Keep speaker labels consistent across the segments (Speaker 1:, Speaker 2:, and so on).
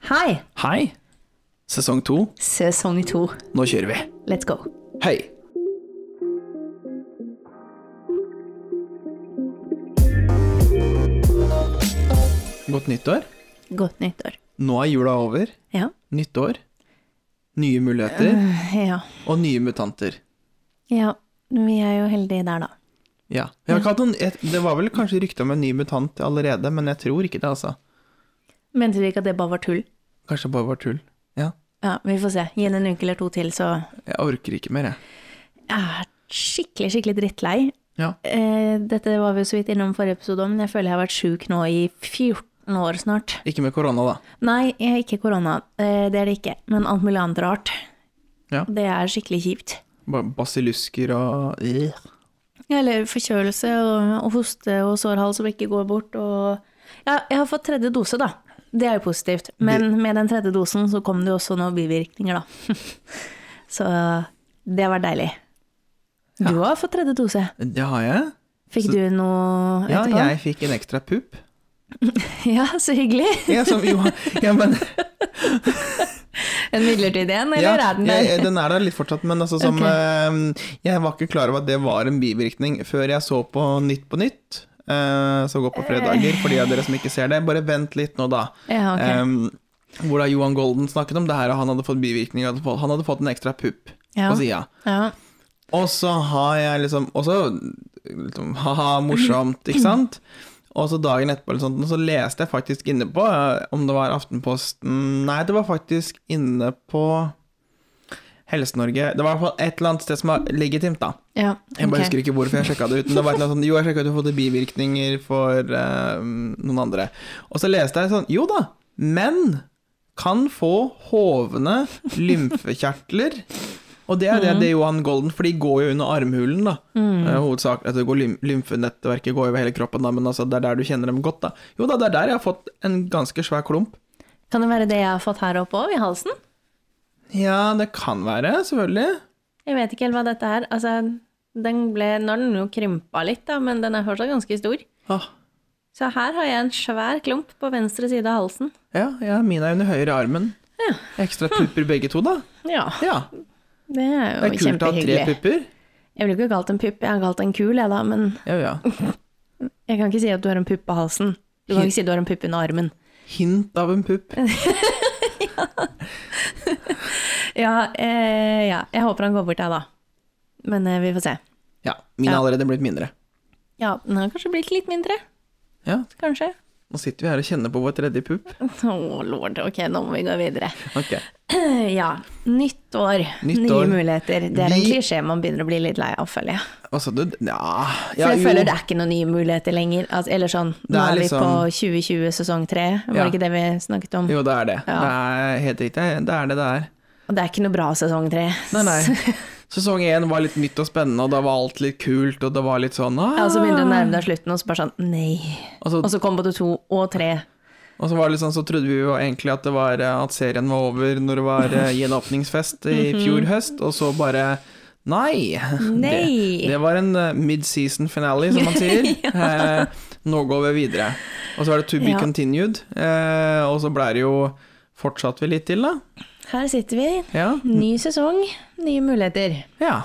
Speaker 1: Hei,
Speaker 2: Hei! Sesong to,
Speaker 1: sesong to.
Speaker 2: nå kjører vi.
Speaker 1: Let's go.
Speaker 2: Hei! Godt nyttår.
Speaker 1: Godt nyttår.
Speaker 2: Nå er jula over.
Speaker 1: Ja.
Speaker 2: Nyttår. Nye muligheter
Speaker 1: ja.
Speaker 2: og nye mutanter.
Speaker 1: Ja, vi er jo heldige der, da.
Speaker 2: Ja. Jeg har ikke hatt noen, jeg, det var vel kanskje rykte om en ny mutant allerede, men jeg tror ikke det, altså.
Speaker 1: Mente du ikke at det bare var tull?
Speaker 2: Kanskje det bare var tull. Ja.
Speaker 1: Ja, vi får se. Gi det en uke eller to til, så
Speaker 2: Jeg orker ikke mer, jeg.
Speaker 1: Jeg er skikkelig, skikkelig drittlei.
Speaker 2: Ja.
Speaker 1: Eh, dette var vi jo så vidt innom forrige episode, men jeg føler jeg har vært sjuk nå i 14 år snart.
Speaker 2: Ikke med korona, da.
Speaker 1: Nei, jeg er ikke korona. Eh, det er det ikke. Men alt mulig annet rart.
Speaker 2: Ja.
Speaker 1: Det er skikkelig kjipt.
Speaker 2: Bare basilusker og øh.
Speaker 1: Eller forkjølelse og, og hoste og sårhals som ikke går bort. Og ja, jeg har fått tredje dose, da. Det er jo positivt. Men med den tredje dosen så kom det jo også noen bivirkninger, da. så det var deilig. Du har fått tredje dose.
Speaker 2: Det har jeg.
Speaker 1: Fikk
Speaker 2: Så-
Speaker 1: du noe
Speaker 2: Ja,
Speaker 1: etterpå?
Speaker 2: jeg fikk en ekstra pupp.
Speaker 1: ja, så hyggelig.
Speaker 2: Ja, som, jo, ja, men,
Speaker 1: En midlertidig en, eller
Speaker 2: ja,
Speaker 1: er den
Speaker 2: jeg,
Speaker 1: der?
Speaker 2: den er der litt fortsatt, men altså som
Speaker 1: Ok.
Speaker 2: eh, Jeg var ikke klar over at det var en bivirkning før jeg så på Nytt på nytt. eh, som går på fredager, for de av dere som ikke ser det. Bare vent litt nå, da.
Speaker 1: Ja, ok.
Speaker 2: Eh, hvor da Johan Golden snakket om det her, og han hadde fått bivirkninger. Han hadde fått- Han hadde fått en ekstra pupp
Speaker 1: Ja.
Speaker 2: på sida.
Speaker 1: Ja.
Speaker 2: Og så har jeg liksom Og så liksom, ha-ha, morsomt, ikke sant? Og så dagen etterpå eller sånt, og så leste jeg faktisk inne på eh, om det var Aftenposten Nei, det var faktisk inne på Helse-Norge. Det var i hvert fall et eller annet sted som var legitimt, da.
Speaker 1: ja.
Speaker 2: Jeg bare
Speaker 1: ok.
Speaker 2: husker ikke hvorfor jeg sjekka det ut. Men det var et eller annet sånn, jo, jeg sjekka ut og fått bivirkninger for eh, noen andre. Og så leste jeg sånn Jo da, menn kan få hovne lymfekjertler. Og det er
Speaker 1: Mhm.
Speaker 2: det, det er Johan Golden, for de går jo under armhulen, da.
Speaker 1: Mm.
Speaker 2: Eh, hovedsak, at det går lym lymfenettverket går over hele kroppen, da, men altså, det er der du kjenner dem godt, da. Jo da, det er der jeg har fått en ganske svær klump.
Speaker 1: Kan det være det jeg har fått her oppe òg, i halsen?
Speaker 2: Ja, det kan være, selvfølgelig.
Speaker 1: Jeg vet ikke helt hva dette er. Altså, den ble, nå har den jo krympa litt, da, men den er fortsatt ganske stor.
Speaker 2: Ah,
Speaker 1: Så her har jeg en svær klump på venstre side av halsen.
Speaker 2: ja, ja, mine er under høyre armen.
Speaker 1: Ja.
Speaker 2: Ekstra pupper begge to, da.
Speaker 1: Ja,
Speaker 2: Ja.
Speaker 1: det er jo
Speaker 2: Det er kult å ha tre
Speaker 1: kjempehyggelig.
Speaker 2: pupper.
Speaker 1: Jeg ville ikke kalt en pupp, jeg har kalt en kul, jeg da, men
Speaker 2: Ja, ja.
Speaker 1: jeg kan ikke si at du har en pupp på halsen. Du kan ikke si du har en pupp under armen.
Speaker 2: Hint av en pupp.
Speaker 1: Ja, eh, ja, jeg håper han går bort, jeg da. Men eh, vi får se.
Speaker 2: Ja, min har
Speaker 1: Ja.
Speaker 2: allerede blitt mindre.
Speaker 1: Ja, den har kanskje blitt litt mindre,
Speaker 2: Ja,
Speaker 1: kanskje.
Speaker 2: nå sitter vi her og kjenner på vår tredje pupp.
Speaker 1: Å lord, ok, nå må vi gå videre.
Speaker 2: Ok.
Speaker 1: Ja, nytt år,
Speaker 2: Nytt
Speaker 1: nye
Speaker 2: år.
Speaker 1: muligheter. Det er en
Speaker 2: Vi-
Speaker 1: klisjé man begynner å bli litt lei av, føler jeg.
Speaker 2: Hva sa du? Ja,
Speaker 1: For
Speaker 2: ja
Speaker 1: jeg
Speaker 2: jo.
Speaker 1: føler det er ikke noen nye muligheter lenger. Altså, eller sånn,
Speaker 2: Det
Speaker 1: nå
Speaker 2: er
Speaker 1: er vi
Speaker 2: liksom-
Speaker 1: på 2020 sesong 3, var
Speaker 2: Ja.
Speaker 1: det ikke det vi snakket om?
Speaker 2: Jo, det er det.
Speaker 1: Ja.
Speaker 2: Det er helt riktig. Det er det det er.
Speaker 1: Og det er ikke noe bra sesong 3.
Speaker 2: Nei, nei. Sesong én var litt nytt og spennende, og da var alt litt kult, og det var litt sånn ah.
Speaker 1: Og så begynte det å nærme deg slutten, og så bare sånn nei.
Speaker 2: og, så,
Speaker 1: Og så kom både to og tre.
Speaker 2: og så var det litt sånn, så trodde vi jo egentlig at, det var, eh, at serien var over når det var eh, gjenåpningsfest i
Speaker 1: Mhm.
Speaker 2: fjor høst, og så bare Nei!
Speaker 1: Nei.
Speaker 2: Det, det var en eh, mid-season finale, som man sier. eh, nå går vi videre. Og så var det to be
Speaker 1: Ja.
Speaker 2: continued, eh, og så ble det jo Fortsatt vi litt til, da.
Speaker 1: Her sitter vi.
Speaker 2: Ja.
Speaker 1: Ny sesong, nye muligheter.
Speaker 2: ja.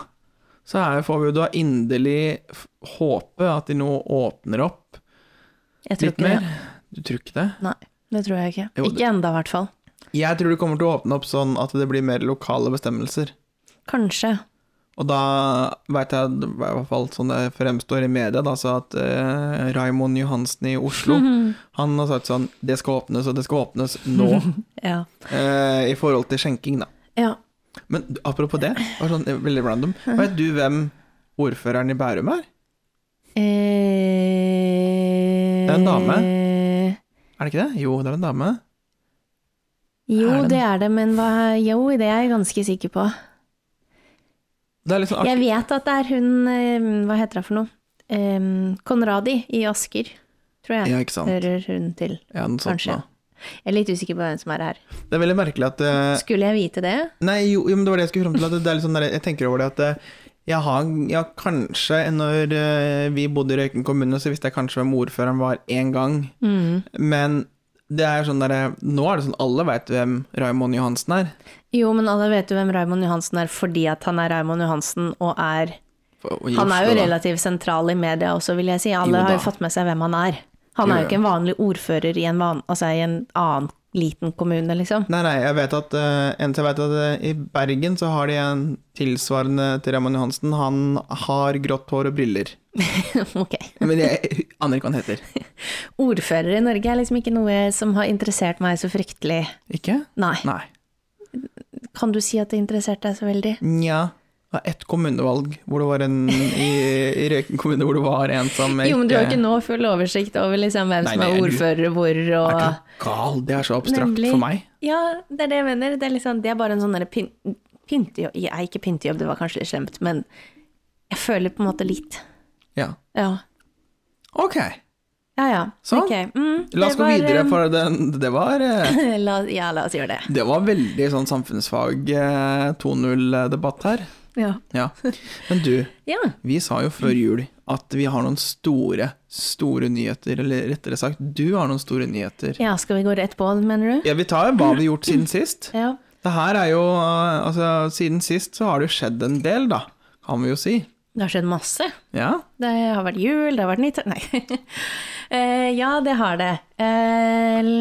Speaker 2: Så her får vi jo da inderlig f- håpe at de nå åpner opp
Speaker 1: Jeg tror
Speaker 2: litt
Speaker 1: ikke
Speaker 2: mer.
Speaker 1: det.
Speaker 2: Du tror ikke det?
Speaker 1: Nei, det tror jeg ikke.
Speaker 2: Jo, det-
Speaker 1: Ikke enda i hvert fall.
Speaker 2: Jeg tror det kommer til å åpne opp sånn at det blir mer lokale bestemmelser.
Speaker 1: Kanskje.
Speaker 2: Og da veit jeg, det var i hvert fall sånn det fremstår i media, da, så at eh, Raymond Johansen i Oslo han har sagt sånn Det skal åpnes, og det skal åpnes nå.
Speaker 1: Ja.
Speaker 2: eh, I forhold til skjenking, da.
Speaker 1: ja.
Speaker 2: Men apropos det, det var sånn eh, veldig random. Veit du hvem ordføreren i Bærum er?
Speaker 1: Eh...
Speaker 2: Det er en dame. Er det ikke det? Jo, det er en dame.
Speaker 1: Jo,
Speaker 2: Er det en-
Speaker 1: det er det, men hva Jo, det er jeg ganske sikker på.
Speaker 2: Det er litt sånn
Speaker 1: Jeg
Speaker 2: artig.
Speaker 1: vet at det er hun eh, Hva heter hun for noe? Eh, Konradi i Asker, tror jeg.
Speaker 2: Ja, ikke sant.
Speaker 1: Hører hun til.
Speaker 2: Ja, noe sånt
Speaker 1: Kanskje.
Speaker 2: nå.
Speaker 1: Jeg er litt usikker på hvem som er her.
Speaker 2: Det er veldig merkelig at eh,
Speaker 1: Skulle jeg vite det?
Speaker 2: Nei, jo, jo, men det var det jeg skulle fram til. At det er litt sånn der, jeg tenker over det at eh, jeg har ja, kanskje Når eh, vi bodde i Røyken kommune, så visste jeg kanskje hvem ordføreren var én gang. Men Det er sånn der, nå er det sånn alle veit hvem Raymond Johansen er.
Speaker 1: Jo, men alle vet jo hvem Raymond Johansen er fordi at han er Raymond Johansen og er
Speaker 2: For- og i
Speaker 1: Han er
Speaker 2: Oslo,
Speaker 1: jo
Speaker 2: da.
Speaker 1: relativt sentral i media også, vil jeg si. Alle
Speaker 2: Jo
Speaker 1: har jo
Speaker 2: da.
Speaker 1: fått med seg hvem han er. Han
Speaker 2: Jo,
Speaker 1: er jo
Speaker 2: jo.
Speaker 1: ikke en vanlig ordfører i en, van, altså i en annen liten kommune, liksom.
Speaker 2: Nei, nei, jeg vet at, eh, eneste jeg vet at eh, i Bergen så har de en tilsvarende til Raymond Johansen. Han har grått hår og briller.
Speaker 1: ok.
Speaker 2: Men jeg aner ikke hva han heter.
Speaker 1: Ordfører i Norge er liksom ikke noe som har interessert meg så fryktelig.
Speaker 2: Ikke?
Speaker 1: Nei.
Speaker 2: Nei.
Speaker 1: Kan du si at det interesserte deg så veldig?
Speaker 2: Nja. Det var ett kommunevalg hvor det var en, i, i Røyken kommune hvor det var en som
Speaker 1: Jo, men du har ikke nå full oversikt over liksom hvem
Speaker 2: Nei,
Speaker 1: som
Speaker 2: nei,
Speaker 1: er
Speaker 2: jeg-
Speaker 1: ordfører hvor
Speaker 2: Er
Speaker 1: og
Speaker 2: du gal? Det er så abstrakt
Speaker 1: Nemlig.
Speaker 2: for meg.
Speaker 1: Ja, det er det jeg mener. Det er, liksom, det er bare en sånn derre pyn pyntejobb Nei, ikke pyntejobb, det var kanskje litt slemt, men jeg føler på en måte litt.
Speaker 2: Ja.
Speaker 1: Ja.
Speaker 2: Ok.
Speaker 1: Ja, ja.
Speaker 2: Sånn.
Speaker 1: Ok, mm,
Speaker 2: La oss
Speaker 1: det
Speaker 2: gå
Speaker 1: var,
Speaker 2: videre,
Speaker 1: eh,
Speaker 2: for den, det var eh,
Speaker 1: la, ja, la oss gjøre det.
Speaker 2: Det var veldig sånn samfunnsfag eh, 2.0-debatt her.
Speaker 1: Ja.
Speaker 2: Ja. Men du,
Speaker 1: ja.
Speaker 2: vi sa jo før jul at vi har noen store, store nyheter. Eller rettere sagt, du har noen store nyheter.
Speaker 1: skal vi gå rett på det, mener du?
Speaker 2: Ja, vi tar hva vi har gjort siden sist.
Speaker 1: Ja.
Speaker 2: Det her er jo eh, Altså, siden sist så har det jo skjedd en del, da. Kan vi jo si.
Speaker 1: Det har skjedd masse.
Speaker 2: Ja.
Speaker 1: Det har vært jul, det har vært nyttår Nei. Eh, ja, det har det. Eh,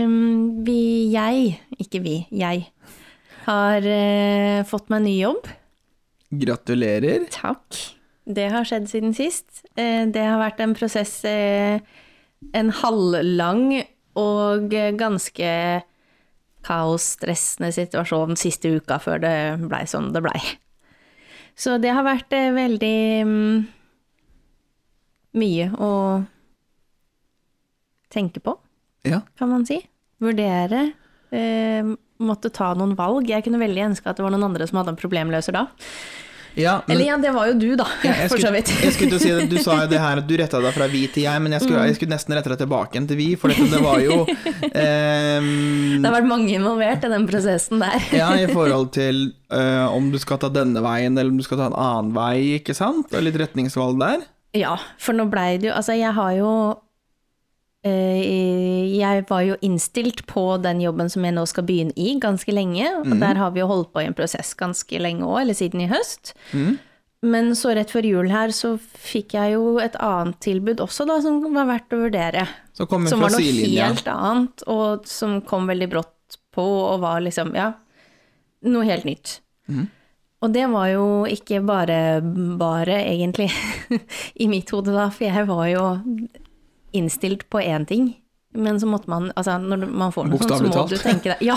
Speaker 1: vi, jeg, ikke vi, jeg, har eh, fått meg ny jobb.
Speaker 2: Gratulerer.
Speaker 1: Takk. Det har skjedd siden sist. Eh, Det har vært en prosess, eh, en halvlang og eh, ganske kaosstressende situasjon siste uka før det blei som det blei. Så det har vært eh, veldig mm, mye å tenke på,
Speaker 2: Ja.
Speaker 1: kan man si. Vurdere. eh, Måtte ta noen valg. Jeg kunne veldig ønske at det var noen andre som hadde en problemløser da.
Speaker 2: ja men-
Speaker 1: Eller ja, det var jo du, da.
Speaker 2: Ja, jeg
Speaker 1: for så
Speaker 2: skulle,
Speaker 1: vidt.
Speaker 2: jeg skulle til å si det, Du sa jo det her at du retta deg fra vi til jeg, men jeg skulle,
Speaker 1: Mm.
Speaker 2: jeg skulle nesten rette deg tilbake igjen til vi, for dette, det var jo ehm,
Speaker 1: Det har vært mange involvert i den prosessen der.
Speaker 2: Ja, i forhold til eh, om du skal ta denne veien, eller om du skal ta en annen vei, ikke sant? Og litt retningsvalg der.
Speaker 1: Ja, for nå blei det jo Altså, jeg har jo eh, Jeg var jo innstilt på den jobben som jeg nå skal begynne i, ganske lenge. Og der har vi jo holdt på i en prosess ganske lenge òg, eller siden i høst. Men så rett før jul her så fikk jeg jo et annet tilbud også, da, som var verdt å vurdere.
Speaker 2: Så kom hun
Speaker 1: Som var
Speaker 2: fra
Speaker 1: noe
Speaker 2: sidelinja.
Speaker 1: helt annet, og som kom veldig brått på, og var liksom, ja, noe helt nytt.
Speaker 2: Mhm.
Speaker 1: Og det var jo ikke bare bare, egentlig, i mitt hode da, for jeg var jo innstilt på én ting. Men så måtte man, altså når du- man får noe sånt, så
Speaker 2: Bokstavelig
Speaker 1: må
Speaker 2: talt.
Speaker 1: du tenke deg Ja,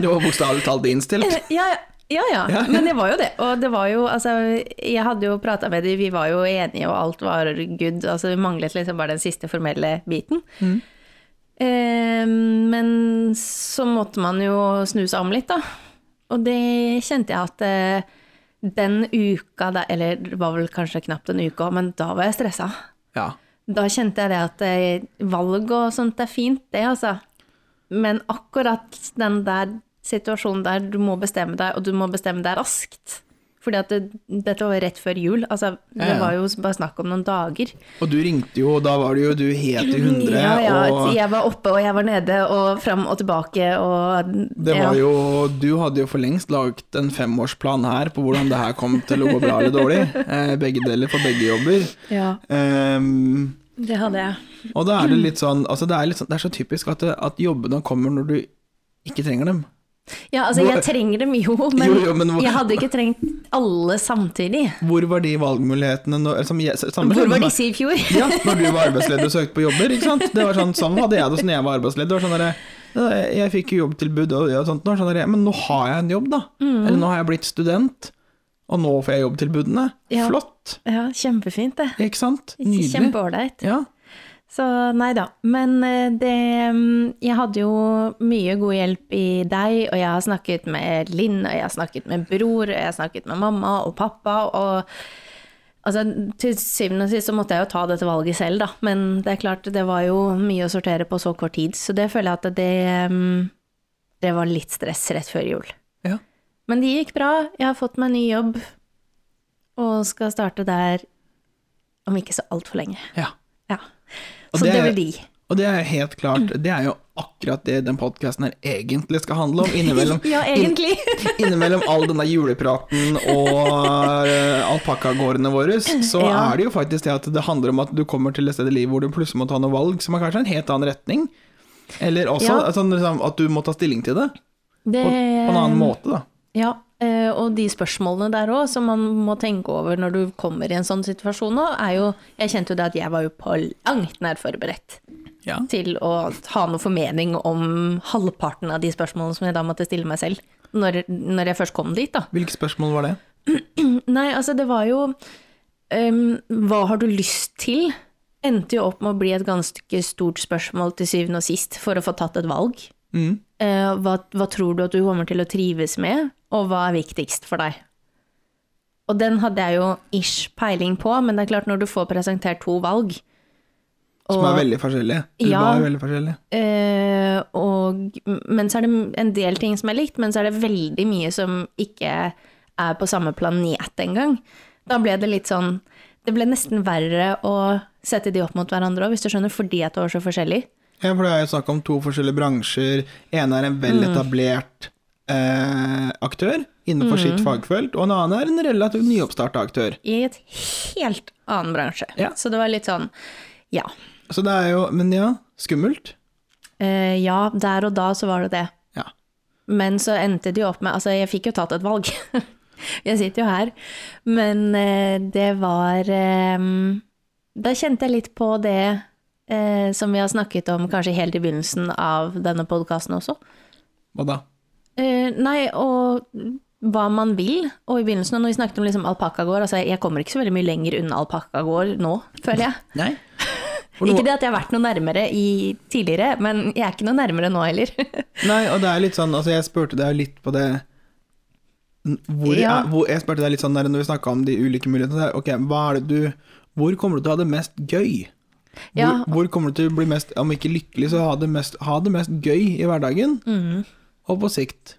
Speaker 2: Det var bokstavelig talt innstilt.
Speaker 1: Eh, ja, ja, ja, ja. men det var jo det. Og det var jo, altså, jeg hadde jo prata med dem, vi var jo enige, og alt var good. Altså, vi manglet liksom bare den siste formelle biten. Eh, men så måtte man jo snu seg om litt, da. Og det kjente jeg at eh, den uka da, eller det var vel kanskje knapt en uke, men da var jeg stressa.
Speaker 2: Ja.
Speaker 1: Da kjente jeg det at eh, valg og sånt er fint, det, altså. Men akkurat den der situasjonen der du må bestemme deg, og du må bestemme deg raskt. Fordi at det, dette var jo rett før jul, altså
Speaker 2: Ja,
Speaker 1: det
Speaker 2: ja.
Speaker 1: var jo bare snakk om noen dager.
Speaker 2: Og du ringte jo, og da var det jo du helt i hundre,
Speaker 1: Ja, ja,
Speaker 2: og
Speaker 1: jeg var oppe og jeg var nede og fram og tilbake og
Speaker 2: det
Speaker 1: ja.
Speaker 2: var jo Du hadde jo for lengst lagd en femårsplan her på hvordan det her kom til å gå bra eller dårlig. Eh, begge deler for begge jobber.
Speaker 1: Ja,
Speaker 2: Ehm,
Speaker 1: det hadde jeg.
Speaker 2: Og da er det litt sånn, altså det er, litt sånn det er så typisk at, det- at jobbene kommer når du ikke trenger dem.
Speaker 1: Ja, altså jeg
Speaker 2: Hvor-
Speaker 1: trenger dem jo, men,
Speaker 2: Jo, jo, men hvor-
Speaker 1: jeg hadde ikke trengt alle samtidig.
Speaker 2: Hvor var de valgmulighetene når som jeg,
Speaker 1: Hvor var disse i fjor?
Speaker 2: Ja, når du var arbeidsledig og søkte på jobber, ikke sant. Det var sånn, sånn hadde jeg det også når jeg var arbeidsledig. Det var sånn der, ja, jeg fikk jo jobbtilbud og, og sånt, nå, sånn der, men nå har jeg en jobb, da.
Speaker 1: Mm.
Speaker 2: Eller nå har jeg blitt student, og nå får jeg jobbtilbudene.
Speaker 1: Ja.
Speaker 2: Flott,
Speaker 1: Ja, kjempefint det.
Speaker 2: ikke sant? Nydelig.
Speaker 1: Kjempeålreit.
Speaker 2: Ja.
Speaker 1: Så nei da. Men eh, det mm, Jeg hadde jo mye god hjelp i deg, og jeg har snakket med Linn, og jeg har snakket med bror, og jeg har snakket med mamma og pappa, og Altså, til syvende og sist så måtte jeg jo ta dette valget selv, da. Men det er klart, det var jo mye å sortere på så kort tid, så det føler jeg at det mm, Det var litt stress rett før jul.
Speaker 2: ja.
Speaker 1: Men det gikk bra. Jeg har fått meg ny jobb, og skal starte der om ikke så altfor lenge.
Speaker 2: ja.
Speaker 1: Ja.
Speaker 2: Og
Speaker 1: Så
Speaker 2: det
Speaker 1: det
Speaker 2: er-
Speaker 1: blir de.
Speaker 2: Og det er jo helt klart,
Speaker 1: Mm.
Speaker 2: det er jo akkurat det den podkasten her egentlig skal handle om. Innimellom,
Speaker 1: Ja, egentlig.
Speaker 2: innimellom all denne julepraten og eh, alpakkagårdene våre, så
Speaker 1: Ja.
Speaker 2: er det jo faktisk det at det handler om at du kommer til et sted i livet hvor du plutselig må ta noe valg som er kanskje en helt annen retning. Eller også
Speaker 1: Ja.
Speaker 2: sånn, liksom, at du må ta stilling til det på,
Speaker 1: Det,
Speaker 2: på en annen måte, da.
Speaker 1: Ja, eh, og de spørsmålene der òg, som man må tenke over når du kommer i en sånn situasjon nå, er jo Jeg kjente jo det at jeg var jo på langt nær forberedt
Speaker 2: Ja.
Speaker 1: til å ha noe formening om halvparten av de spørsmålene som jeg da måtte stille meg selv, når, når jeg først kom dit, da.
Speaker 2: Hvilke spørsmål var det?
Speaker 1: Nei, altså det var jo ehm, Hva har du lyst til? Endte jo opp med å bli et ganske stort spørsmål til syvende og sist for å få tatt et valg.
Speaker 2: Mm.
Speaker 1: Eh, hva, hva tror du at du kommer til å trives med, og hva er viktigst for deg? Og den hadde jeg jo ish peiling på, men det er klart når du får presentert to valg
Speaker 2: Som
Speaker 1: og-
Speaker 2: er veldig forskjellige. Eller
Speaker 1: Ja.
Speaker 2: var veldig forskjellige.
Speaker 1: Eh, og, men så er det en del ting som er likt, men så er det veldig mye som ikke er på samme planet engang. Da ble det litt sånn Det ble nesten verre å sette de opp mot hverandre òg, hvis du skjønner, fordi at det var så forskjellig.
Speaker 2: Ja, for det er jo snakk om to forskjellige bransjer. En er en veletablert eh, aktør innenfor sitt
Speaker 1: Mm.
Speaker 2: fagfelt, og en annen er en relativt nyoppstarta aktør.
Speaker 1: I et helt annen bransje.
Speaker 2: Ja.
Speaker 1: Så det var litt sånn Ja.
Speaker 2: Så det er jo Men ja, skummelt.
Speaker 1: Eh, ja, der og da så var det det.
Speaker 2: Ja.
Speaker 1: Men så endte det jo opp med Altså, jeg fikk jo tatt et valg. jeg sitter jo her. Men eh, det var eh, Da kjente jeg litt på det eh, som vi har snakket om kanskje helt i begynnelsen av denne podkasten også.
Speaker 2: Hva da?
Speaker 1: Eh, nei, og hva man vil. Og i begynnelsen, når vi snakket om liksom alpakkagård Altså, jeg kommer ikke så veldig mye lenger unna alpakkagård nå, føler jeg.
Speaker 2: Nei.
Speaker 1: Ikke det at jeg har vært noe nærmere i tidligere, men jeg er ikke noe nærmere nå heller.
Speaker 2: Nei, og det er litt sånn Altså, jeg spurte deg jo litt på det hvor,
Speaker 1: Ja.
Speaker 2: er, hvor, Jeg spurte deg litt sånn der når vi snakka om de ulike mulighetene der. Ok, hva er det du Hvor kommer du til å ha det mest gøy? Hvor,
Speaker 1: Ja.
Speaker 2: hvor kommer du til å bli mest, om ikke lykkelig, så ha det mest, ha det mest gøy i hverdagen?
Speaker 1: Mm.
Speaker 2: Og på sikt.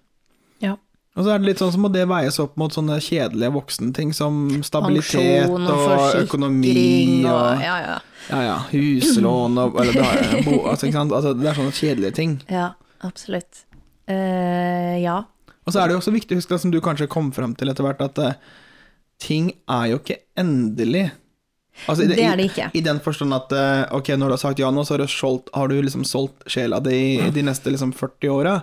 Speaker 1: ja.
Speaker 2: Og så er det litt sånn, så må det veies opp mot sånne kjedelige voksenting som stabilitet
Speaker 1: Pensjon
Speaker 2: og, økonomi
Speaker 1: forsikring
Speaker 2: og, ja.
Speaker 1: ja, ja.
Speaker 2: Ja, huslån og eller, da- bo, altså, ikke sant? Altså, Det er sånne kjedelige ting.
Speaker 1: ja, absolutt. Eh, ja.
Speaker 2: Og så er det jo også viktig å huske, som du kanskje kom fram til etter hvert, at eh, ting er jo ikke endelig. Altså, i
Speaker 1: Det er det ikke.
Speaker 2: I, I den forstand at eh, ok, når du har sagt ja nå, så har du, solgt, har du liksom solgt sjela di de neste liksom 40 åra.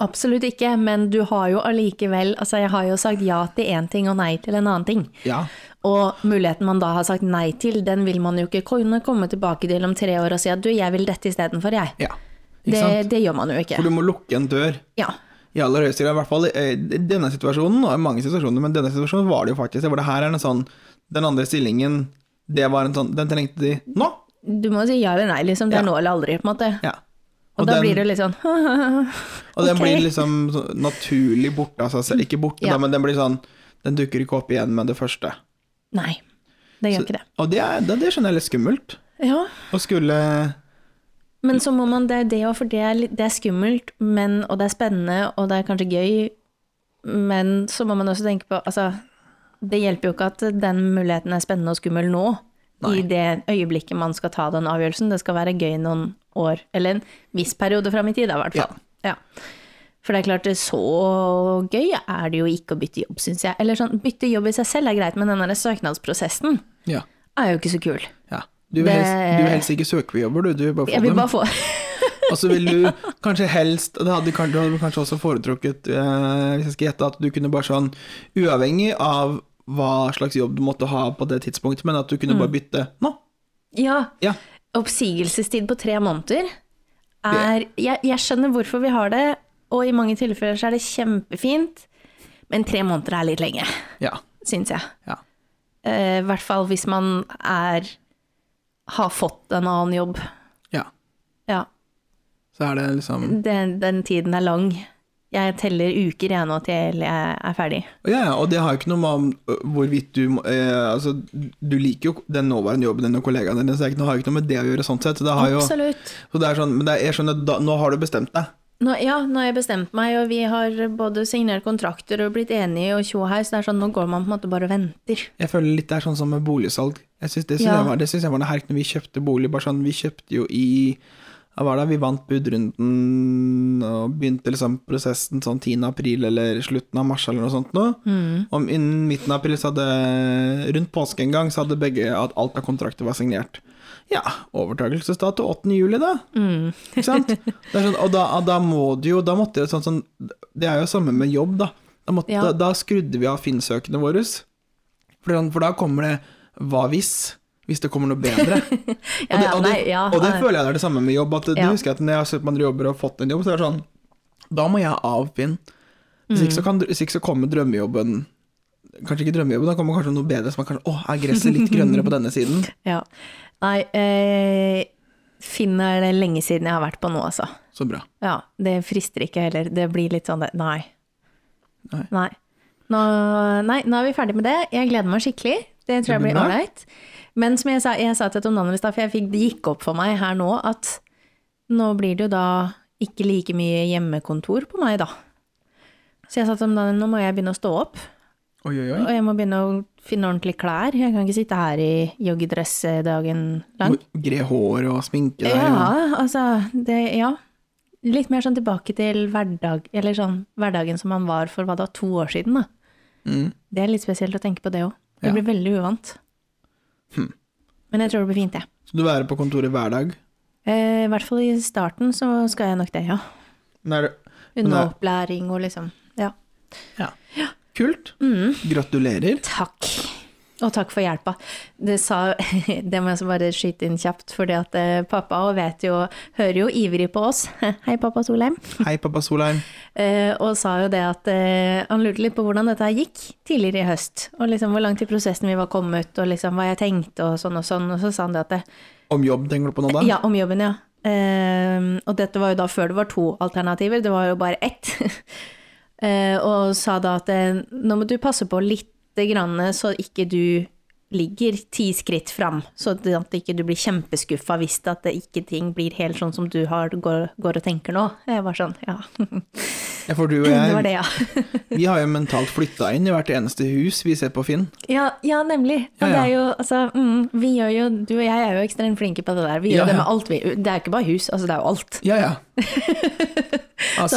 Speaker 1: Absolutt ikke, men du har jo allikevel Altså, jeg har jo sagt ja til én ting og nei til en annen ting.
Speaker 2: Ja.
Speaker 1: Og muligheten man da har sagt nei til, den vil man jo ikke kunne komme tilbake til om tre år og si at du, jeg vil dette istedenfor, jeg.
Speaker 2: ja.
Speaker 1: Det,
Speaker 2: Ikke sant?
Speaker 1: det gjør man jo ikke.
Speaker 2: For du må lukke en dør.
Speaker 1: Ja.
Speaker 2: I aller høyeste grad, i hvert fall eh, i denne situasjonen, og i mange situasjoner, men denne situasjonen var det jo faktisk det. Hvor det her er en sånn Den andre stillingen, det var en sånn Den trengte de nå!
Speaker 1: Du må si ja eller nei, liksom. Det er
Speaker 2: Ja.
Speaker 1: nå eller aldri, på en måte.
Speaker 2: Ja.
Speaker 1: Og, da blir det litt sånn
Speaker 2: og den
Speaker 1: ok.
Speaker 2: blir liksom så naturlig borte av seg selv. Ikke borte,
Speaker 1: Ja.
Speaker 2: da, men den blir sånn Den dukker ikke opp igjen med det første.
Speaker 1: Nei, det gjør ikke det.
Speaker 2: Og det, er, det, det skjønner jeg er litt skummelt.
Speaker 1: Ja.
Speaker 2: Å skulle
Speaker 1: Men så må man, det er det òg, for det er, litt- det er skummelt, men, og det er spennende, og det er kanskje gøy, men så må man også tenke på Altså, det hjelper jo ikke at den muligheten er spennende og skummel nå, i det øyeblikket man skal ta den avgjørelsen. Det skal være gøy noen år, eller en viss periode fram i tid, da, i hvert fall. Ja. For det er klart, det er så gøy er det jo ikke å bytte jobb, syns jeg. Eller sånn, bytte jobb i seg selv er greit, men den der søknadsprosessen
Speaker 2: Ja.
Speaker 1: er jo ikke så kul.
Speaker 2: ja. Du
Speaker 1: Det-
Speaker 2: vil, helst, du vil helst ikke søke på jobber, du. Du vil bare få
Speaker 1: Jeg vil
Speaker 2: dem.
Speaker 1: bare få
Speaker 2: Og så vil du kanskje helst og Det hadde kan- du hadde kanskje også foretrukket, eh, hvis jeg skal gjette, at du kunne bare sånn Uavhengig av hva slags jobb du måtte ha på det tidspunktet, men at du kunne bare bytte nå.
Speaker 1: Ja.
Speaker 2: Ja.
Speaker 1: oppsigelsestid på tre måneder er jeg, jeg skjønner hvorfor vi har det, og i mange tilfeller så er det kjempefint, men tre måneder er litt lenge,
Speaker 2: Ja.
Speaker 1: syns jeg.
Speaker 2: ja.
Speaker 1: Eh, I hvert fall hvis man er har fått en annen jobb.
Speaker 2: ja.
Speaker 1: Ja,
Speaker 2: Så er det liksom
Speaker 1: den, den tiden er lang. Jeg teller uker jeg nå til jeg er ferdig.
Speaker 2: Ja, ja, og det har jo ikke noe med om ø, hvorvidt du må- eh, Altså, du liker jo den nåværende jobben din og kollegaene dine, så det er ikke noe- har jo ikke noe med det å gjøre sånn sett. Det har jo,
Speaker 1: Absolutt.
Speaker 2: så det er sånn, men det er, jeg skjønner, da, nå har du bestemt deg.
Speaker 1: Nå, ja, nå har jeg bestemt meg, og vi har både signert kontrakter og blitt enige og tjo og hei, så det er sånn, nå går man på en måte bare og venter.
Speaker 2: Jeg føler litt det er sånn som med boligsalg. Jeg synes det synes
Speaker 1: Ja.
Speaker 2: jeg var, det synes jeg var noe herk når vi kjøpte bolig. Bare sånn, vi kjøpte jo i hva var det, Vi vant budrunden og begynte liksom prosessen sånn 10. april eller slutten av mars eller noe sånt. Nå. Om innen midten av april, så hadde rundt påske en gang, så hadde begge at alt av kontrakter var signert. Ja, overtakelsesdag til 8. juli, da.
Speaker 1: Mm.
Speaker 2: Ikke sant? Det er sånn, og da, da må du jo Da måtte jo sånn, sånn Det er jo samme med jobb, da. Da, måtte,
Speaker 1: Ja.
Speaker 2: da, da skrudde vi av Finnsøkene våre. For, sånn- for da kommer det Hva hvis? Hvis det kommer noe bedre.
Speaker 1: Ja,
Speaker 2: og det,
Speaker 1: ja,
Speaker 2: og det,
Speaker 1: nei, ja,
Speaker 2: og det
Speaker 1: ja.
Speaker 2: føler jeg er det samme med jobb. At du
Speaker 1: Ja.
Speaker 2: husker at når jeg har sett på andre jobber og fått en jobb, så er det sånn Da må jeg av Finn. Hvis
Speaker 1: Mm.
Speaker 2: ikke så, kan, hvis ikke så kommer drømmejobben Kanskje ikke drømmejobben, da kommer kanskje noe bedre som er kanskje Å, er gresset litt grønnere på denne siden?
Speaker 1: Ja. Nei, eh, Finn er det lenge siden jeg har vært på nå, altså.
Speaker 2: Så bra.
Speaker 1: Ja, det frister ikke heller. Det blir litt sånn det, nei.
Speaker 2: Nei.
Speaker 1: Nå, nei, nå er vi ferdig med det. Jeg gleder meg skikkelig. Det tror jeg
Speaker 2: Det blir
Speaker 1: blir
Speaker 2: bra.
Speaker 1: ålreit. Men som jeg sa, jeg sa til Tom Daniel i stad, for jeg fikk, det gikk opp for meg her nå at nå blir det jo da ikke like mye hjemmekontor på meg, da. Så jeg sa til Tom Daniel, nå må jeg begynne å stå opp.
Speaker 2: Oi, oi, oi.
Speaker 1: Og jeg må begynne å finne ordentlige klær. Jeg kan ikke sitte her i joggedress eh, dagen lang.
Speaker 2: Må Gre hår og sminke deg. og-
Speaker 1: Ja, altså det, Ja. Litt mer sånn tilbake til hverdag, eller sånn, hverdagen som man var for hva da, to år siden. da.
Speaker 2: Mm.
Speaker 1: Det er litt spesielt å tenke på det òg. Det
Speaker 2: Ja. Hm.
Speaker 1: blir veldig uvant. Men jeg tror det blir fint, jeg.
Speaker 2: Så du er på kontoret hver dag?
Speaker 1: Eh, I hvert fall i starten så skal jeg nok det, ja.
Speaker 2: Nå er det
Speaker 1: Under
Speaker 2: Nei.
Speaker 1: opplæring og liksom. Ja.
Speaker 2: Kult.
Speaker 1: Mm.
Speaker 2: Gratulerer.
Speaker 1: Takk. Og takk for hjelpa. Det, sa, det må jeg også bare skyte inn kjapt, fordi at eh, pappa og vet jo, hører jo ivrig på oss. Hei, pappa Solheim.
Speaker 2: Hei, pappa Solheim.
Speaker 1: Eh, og sa jo det at eh, han lurte litt på hvordan dette her gikk tidligere i høst. Og liksom hvor langt i prosessen vi var kommet, og liksom hva jeg tenkte og sånn og sånn. Og så sa han det at det,
Speaker 2: Om jobb tenker du på nå, da?
Speaker 1: Ja, om jobben, ja. Eh, og dette var jo da før det var to alternativer, det var jo bare ett. Eh, og sa da at eh, nå må du passe på lite grann så ikke du ligger ti skritt fram, så at at ikke du blir kjempeskuffa hvis det at det ikke ting blir helt sånn som du har, går, går og tenker nå. Jeg var sånn, ja.
Speaker 2: Ja, for du og
Speaker 1: Det var
Speaker 2: jeg,
Speaker 1: det, ja.
Speaker 2: vi har jo mentalt flytta inn i hvert eneste hus vi ser på Finn.
Speaker 1: Ja, ja nemlig. Og
Speaker 2: Ja, ja.
Speaker 1: Det er jo, altså, mm, vi gjør jo, du og jeg er jo ekstremt flinke på det der. Vi
Speaker 2: Ja,
Speaker 1: gjør det
Speaker 2: ja.
Speaker 1: med alt, vi. Det er jo ikke bare hus, altså det er jo alt.
Speaker 2: Ja, Altså,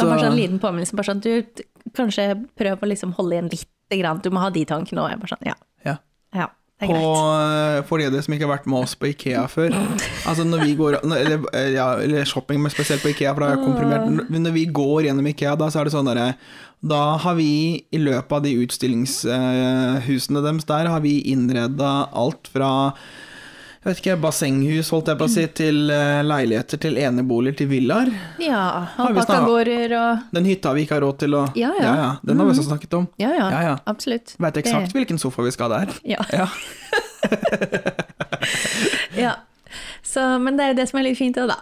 Speaker 1: Så
Speaker 2: ja.
Speaker 1: det var bare sånn liten påminnelse, bare sånn du t- kanskje prøv å liksom holde igjen lite grann, du må ha de tankene òg. Jeg bare sånn, ja.
Speaker 2: ja.
Speaker 1: ja det er
Speaker 2: på
Speaker 1: greit.
Speaker 2: eh, for dere som ikke har vært med oss på Ikea før. Altså når vi går, når- eller, eh, ja, eller shopping, men spesielt på Ikea, for da er jeg komprimert. Men Når vi går gjennom Ikea, da, så er det sånn derre Da har vi i løpet av de utstillingshusene deres der, har vi innreda alt fra jeg vet ikke, bassenghus, holdt jeg på å si, til eh, leiligheter, til eneboliger, til villaer.
Speaker 1: Ja,
Speaker 2: vi snakket-
Speaker 1: alpakkagårder og
Speaker 2: Den hytta vi ikke har råd til å
Speaker 1: Ja, ja.
Speaker 2: Den har vi også snakket om.
Speaker 1: ja, ja,
Speaker 2: Ja, ja.
Speaker 1: absolutt.
Speaker 2: Veit
Speaker 1: Det-
Speaker 2: eksakt hvilken sofa vi skal ha der.
Speaker 1: Ja.
Speaker 2: Ja.
Speaker 1: ja. Så, men det er jo det som er litt fint òg, da.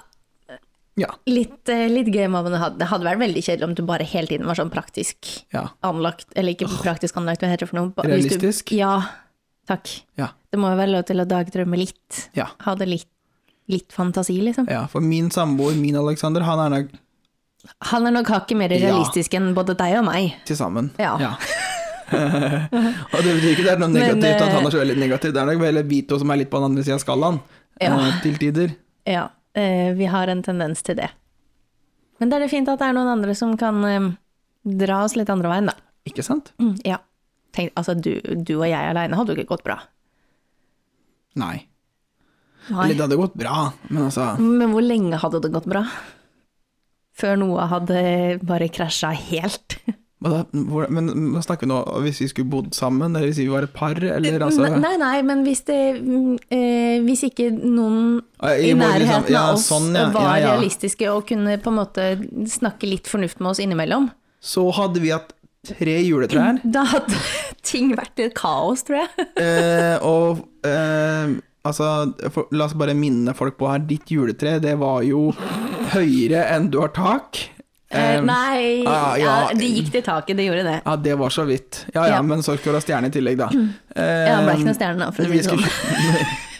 Speaker 2: Ja.
Speaker 1: Litt, eh, litt gøy må man ha. Det hadde vært veldig kjedelig om du bare hele tiden var sånn praktisk
Speaker 2: ja.
Speaker 1: anlagt, eller ikke praktisk anlagt, hva heter det for noe? Ba- hvis du-
Speaker 2: Realistisk.
Speaker 1: Ja, takk.
Speaker 2: Ja.
Speaker 1: Det må jo være lov til å dagdrømme litt.
Speaker 2: Ja.
Speaker 1: Ha det litt, litt fantasi, liksom.
Speaker 2: Ja, for min samboer, min Alexander, han er nok
Speaker 1: Han er nok hakket mer realistisk enn både deg og meg.
Speaker 2: til sammen.
Speaker 1: Ja.
Speaker 2: og det betyr ikke det er noe
Speaker 1: Men,
Speaker 2: negativt at han
Speaker 1: eh,
Speaker 2: er så veldig negativ, det er nok vel Vito som er litt på den andre sida av skalaen
Speaker 1: Ja.
Speaker 2: eh, til tider.
Speaker 1: Ja, eh, vi har en tendens til det. Men det er det fint at det er noen andre som kan eh, dra oss litt andre veien, da.
Speaker 2: Ikke sant?
Speaker 1: Mm, ja. Tenk, altså, du, du og jeg alene hadde jo ikke gått bra.
Speaker 2: Nei. Eller
Speaker 1: Nei.
Speaker 2: det hadde gått bra, men altså
Speaker 1: Men hvor lenge hadde det gått bra? Før noe hadde bare krasja helt.
Speaker 2: hva da, hvor, Men hva snakker vi nå hvis vi skulle bodd sammen, eller hvis vi var et par, eller altså
Speaker 1: Ne- Nei, nei, men hvis det mm, eh, Hvis ikke noen
Speaker 2: Eh, i
Speaker 1: i
Speaker 2: vår liksom-
Speaker 1: nærheten
Speaker 2: ja,
Speaker 1: av oss
Speaker 2: sånn, ja,
Speaker 1: var
Speaker 2: ja, ja.
Speaker 1: realistiske og kunne på en måte snakke litt fornuft med oss innimellom,
Speaker 2: Så hadde vi hatt tre juletrær,
Speaker 1: da hadde ting vært et kaos, tror jeg.
Speaker 2: eh, og eh, altså for, La oss bare minne folk på her, ditt juletre, det var jo høyere enn du har tak.
Speaker 1: Eh,
Speaker 2: Eh,
Speaker 1: nei,
Speaker 2: ah,
Speaker 1: ja,
Speaker 2: ja.
Speaker 1: det gikk til taket, det gjorde det.
Speaker 2: Ja, det var så vidt. Ja ja,
Speaker 1: Ja.
Speaker 2: men Sorkor har stjerne i tillegg, da. Eh,
Speaker 1: Ja, det ble ikke noe stjerne, da, for å si
Speaker 2: vi
Speaker 1: det sånn.
Speaker 2: skulle-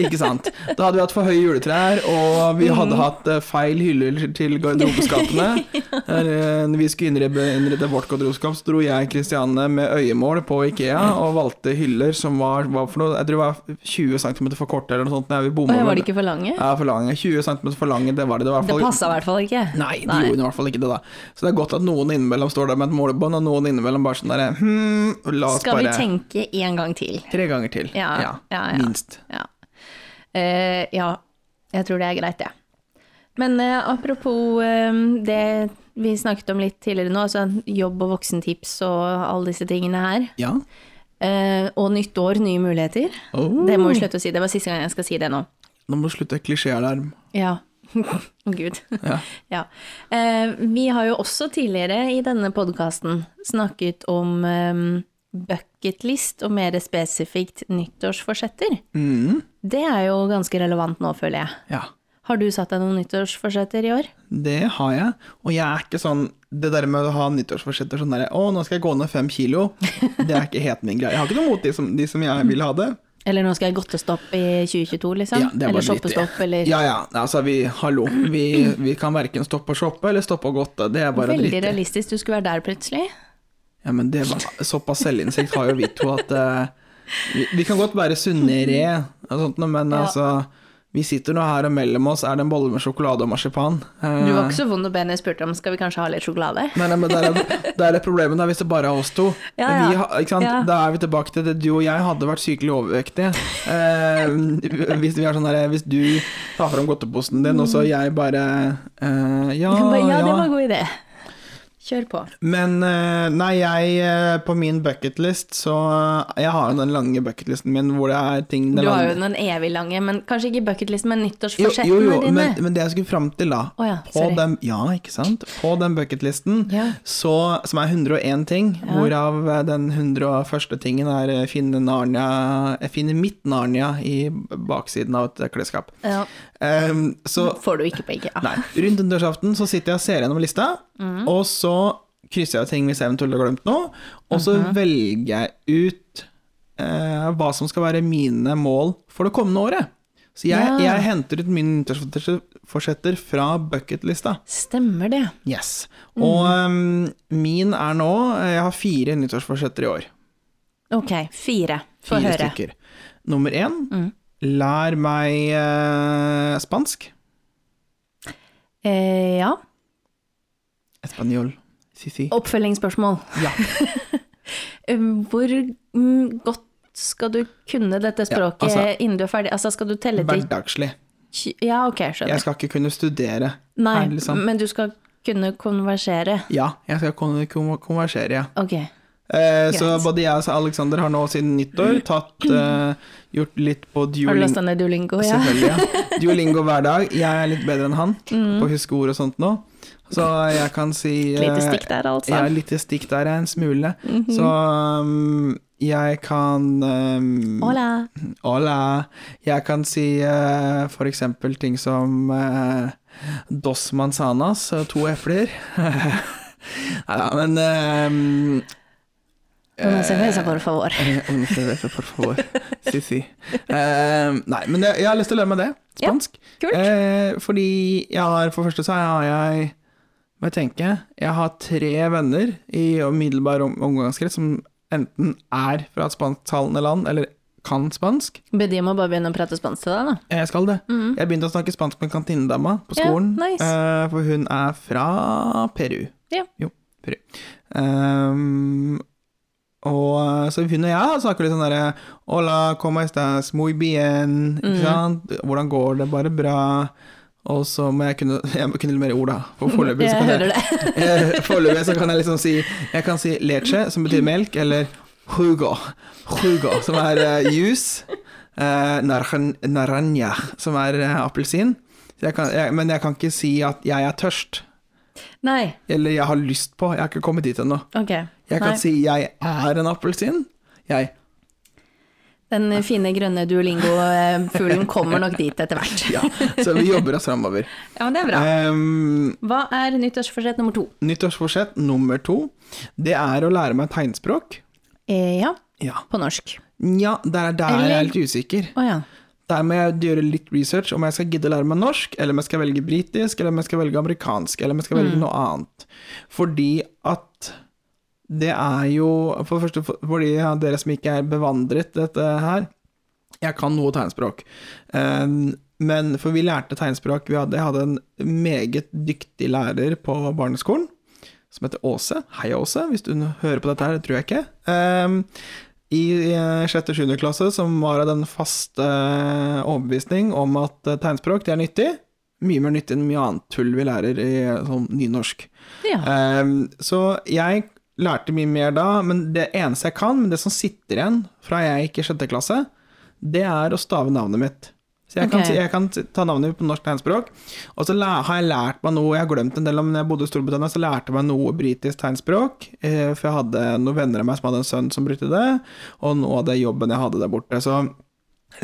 Speaker 2: Ikke sant. Da hadde vi hatt for høye juletrær, og
Speaker 1: Mm.
Speaker 2: vi hadde hatt eh, feil hyller til garderobeskapene. Eh, Når vi skulle innrede, innrede vårt garderobeskap, så dro jeg Kristianne med øyemål på Ikea og valgte hyller som var, hva for noe, jeg tror det var 20 cm for korte eller noe sånt. Nei, vi bomma
Speaker 1: Oi, var
Speaker 2: vel-
Speaker 1: det ikke for lange?
Speaker 2: Ja, for lange. 20 cm for lange, det var det. Det, var i hvert
Speaker 1: Det
Speaker 2: fall-
Speaker 1: passa i hvert fall ikke.
Speaker 2: Nei, de
Speaker 1: Nei.
Speaker 2: gjorde i hvert fall ikke det, da. Så det er godt at noen innimellom står der med et målebånd, og noen innimellom bare sånn derre hm, la oss
Speaker 1: Skal vi
Speaker 2: bare
Speaker 1: tenke en gang til?
Speaker 2: Tre ganger til.
Speaker 1: Ja, ja, ja.
Speaker 2: Minst.
Speaker 1: Ja. Eh, ja, jeg tror det er greit, det. Men eh, apropos eh, det vi snakket om litt tidligere nå, altså jobb og voksentips og alle disse tingene her.
Speaker 2: Ja.
Speaker 1: Eh, og nytt år, nye muligheter.
Speaker 2: Oh,
Speaker 1: Det må vi slutte å si. Det var siste gang jeg skal si det nå.
Speaker 2: nå må du slutte klisjéalarm.
Speaker 1: Ja. Gud.
Speaker 2: Ja.
Speaker 1: Ja. Eh, vi har jo også tidligere i denne podkasten snakket om eh, bucketlist, og mer spesifikt nyttårsforsetter.
Speaker 2: Mm,
Speaker 1: Det er jo ganske relevant nå, føler jeg.
Speaker 2: ja.
Speaker 1: Har du satt deg noen nyttårsforsetter i år?
Speaker 2: Det har jeg, og jeg er ikke sånn Det der med å ha nyttårsforsetter sånn derre Å, nå skal jeg gå ned fem kilo. Det er ikke helt min greie. Jeg har ikke noe mot de som, de som jeg vil ha det.
Speaker 1: Eller nå skal jeg godtestopp i 2022, liksom?
Speaker 2: Ja, det er
Speaker 1: eller
Speaker 2: bare dritt,
Speaker 1: shoppestopp, eller
Speaker 2: Ja ja, altså vi, hallo. Vi, vi kan verken stoppe å shoppe eller stoppe å godte. Det er bare
Speaker 1: Veldig
Speaker 2: dritt.
Speaker 1: realistisk, du skulle være der plutselig.
Speaker 2: Ja, men det var, såpass selvinnsikt har jo vi to at eh, vi, vi kan godt være sunnere og sånt, noe, men
Speaker 1: Ja.
Speaker 2: altså Vi sitter nå her, og mellom oss er det en bolle med sjokolade og marsipan. Eh,
Speaker 1: Du var ikke så vond å be når jeg spurte om skal vi kanskje ha litt sjokolade.
Speaker 2: Nei, nei, men der er, der er problemet da, hvis det bare er oss to.
Speaker 1: Ja, ja.
Speaker 2: Vi, har- ikke sant?
Speaker 1: Ja.
Speaker 2: Da er vi tilbake til det. Du og jeg hadde vært sykelig overvektige. Eh, hvis, vi er sånn der, hvis du tar fram godteposen din, og så jeg bare eh, ja,
Speaker 1: Mm. Bare, ja,
Speaker 2: ja,
Speaker 1: det var en god idé. Kjør på.
Speaker 2: Men eh, nei, jeg eh, på min bucketlist så eh, Jeg har jo den lange bucketlisten min hvor det er ting den
Speaker 1: Du har jo
Speaker 2: lange-
Speaker 1: den evig lange, men kanskje ikke bucketlisten, men
Speaker 2: jo,
Speaker 1: nyttårsforsettene
Speaker 2: jo, jo,
Speaker 1: dine.
Speaker 2: men, men det jeg skulle fram til, da
Speaker 1: Å ja,
Speaker 2: på
Speaker 1: sorry.
Speaker 2: den, ja, ikke sant? På den bucketlisten,
Speaker 1: Ja.
Speaker 2: så, som er 101 ting, hvorav eh, den 101. tingen er eh, finne Narnia Jeg finner mitt Narnia i baksiden av et eh, klesskap.
Speaker 1: Ja,
Speaker 2: Ehm, så
Speaker 1: får du ikke Ah, på IKEA.
Speaker 2: Nei. Rundt nyttårsaften så sitter jeg og ser gjennom lista,
Speaker 1: mm.
Speaker 2: og så krysser jeg ting hvis jeg eventuelt har glemt noe, og så
Speaker 1: Mhm.
Speaker 2: velger jeg ut eh, hva som skal være mine mål for det kommende året. Så jeg,
Speaker 1: Ja.
Speaker 2: jeg henter ut mine nyttårsforsetter fra bucketlista.
Speaker 1: Stemmer det.
Speaker 2: Yes.
Speaker 1: Mm.
Speaker 2: Og ehm, min er nå eh, Jeg har fire nyttårsforsetter i år.
Speaker 1: Ok, fire. Få
Speaker 2: Fire
Speaker 1: høre. Mm.
Speaker 2: stykker. Nummer én lær meg eh, spansk.
Speaker 1: Eh, ja.
Speaker 2: Español. Si, si.
Speaker 1: Oppfølgingsspørsmål.
Speaker 2: Ja.
Speaker 1: Eh, Hvor mm, godt skal du kunne dette språket
Speaker 2: Ja, altså-
Speaker 1: innen du er ferdig? Altså, skal du telle til
Speaker 2: Hverdagslig.
Speaker 1: tj- Ja, ok, skjønner.
Speaker 2: Jeg skal ikke kunne studere.
Speaker 1: Nei,
Speaker 2: ferdig, liksom.
Speaker 1: men du skal kunne konversere.
Speaker 2: Ja, jeg skal kunne kon- konversere, ja.
Speaker 1: Ok.
Speaker 2: Eh, så
Speaker 1: Greit.
Speaker 2: både jeg og Aleksander har nå siden nyttår tatt, eh, gjort litt på
Speaker 1: Har du
Speaker 2: duolingo.
Speaker 1: lasta ned Duolingo? Ja.
Speaker 2: Selvfølgelig, ja. Duolingo hver dag. Jeg er litt bedre enn han
Speaker 1: Mm.
Speaker 2: på å huske ord og sånt nå. Så jeg kan si eh,
Speaker 1: Et lite stikk der, altså. Mhm.
Speaker 2: Ja, litt stikk der, ja, en smule. Så um, jeg kan um,
Speaker 1: Hola.
Speaker 2: Hola. Jeg kan si eh, for eksempel ting som eh, dos manzanas, eh, to epler. Nei da, men eh,
Speaker 1: Una cerveza,
Speaker 2: eh,
Speaker 1: por favor.
Speaker 2: Eh, Una cerveza, por favor. Si, si. Eh, nei, men jeg, jeg har lyst til å lære meg det.
Speaker 1: Ja,
Speaker 2: Spansk.
Speaker 1: kult.
Speaker 2: Eh, fordi jeg har, for det første så har jeg Må jeg tenke Jeg har tre venner i umiddelbar om- omgangskrets som enten er fra et spansktalende land, eller kan spansk.
Speaker 1: Be de om å bare begynne å prate spansk til deg, da.
Speaker 2: Eh, Jeg skal det.
Speaker 1: Mm.
Speaker 2: Jeg begynte å snakke spansk med kantinedama på
Speaker 1: Ja,
Speaker 2: skolen,
Speaker 1: nice.
Speaker 2: eh, for hun er fra Peru.
Speaker 1: Ja.
Speaker 2: Jo, Peru. Ehm, og eh, så hun og jeg snakker litt sånn derre Hola, como estás? Muy bien.
Speaker 1: Mm.
Speaker 2: Ikke sant? Hvordan går det? Bare bra. Og så må jeg kunne Jeg må kunne litt mer ord, da. For foreløpig
Speaker 1: Jeg
Speaker 2: så kan jeg
Speaker 1: hører det.
Speaker 2: Eh, Foreløpig så kan jeg liksom si Jeg kan si leche, som betyr melk, eller jugo, jugo som er eh, juice. eh, naran- naranja, som er eh, appelsin. Så jeg kan- jeg- Men jeg kan ikke si at jeg er tørst,
Speaker 1: Nei.
Speaker 2: eller jeg har lyst på. Jeg har ikke kommet dit ennå.
Speaker 1: Ok.
Speaker 2: Jeg kan
Speaker 1: Nei.
Speaker 2: si jeg er en appelsin. Jeg
Speaker 1: Den fine grønne Duolingo-fuglen kommer nok dit etter hvert.
Speaker 2: Ja. Så vi jobber oss framover.
Speaker 1: Ja, men det er bra.
Speaker 2: Um,
Speaker 1: Hva er nyttårsforsett nummer to?
Speaker 2: nyttårsforsett nummer to, det er å lære meg tegnspråk.
Speaker 1: Eh, ja,
Speaker 2: Ja.
Speaker 1: på norsk.
Speaker 2: Nja, der, der er jeg
Speaker 1: Eller-
Speaker 2: helt usikker.
Speaker 1: Å ja.
Speaker 2: Der må jeg gjøre litt research om jeg skal gidde å lære meg norsk, eller om jeg skal velge britisk, eller om jeg skal velge amerikansk, eller om jeg skal velge noe annet. Fordi at det er jo For det første, for- fordi ja, dere som ikke er bevandret i dette her Jeg kan noe tegnspråk. Um, men for vi lærte tegnspråk vi hadde, Jeg hadde en meget dyktig lærer på barneskolen som heter Åse. Hei, Åse, hvis du hører på dette her, det tror jeg ikke. Um, i eh, sjette og sjuende klasse, som var av den faste eh, overbevisning om at eh, tegnspråk, det er nyttig. Mye mer nyttig enn mye annet tull vi lærer i eh, sånn nynorsk.
Speaker 1: Ja.
Speaker 2: Ehm, så jeg lærte mye mer da, men det eneste jeg kan, men det som sitter igjen fra jeg gikk i sjette klasse, det er å stave navnet mitt. Så jeg,
Speaker 1: Ok.
Speaker 2: kan, jeg kan ta navnet mitt på norsk tegnspråk, og så læ- har jeg lært meg noe, jeg har glemt en del om når jeg bodde i Storbritannia, så lærte jeg meg noe britisk tegnspråk, eh, for jeg hadde noen venner av meg som hadde en sønn som brukte det, og noe av det jobben jeg hadde der borte, så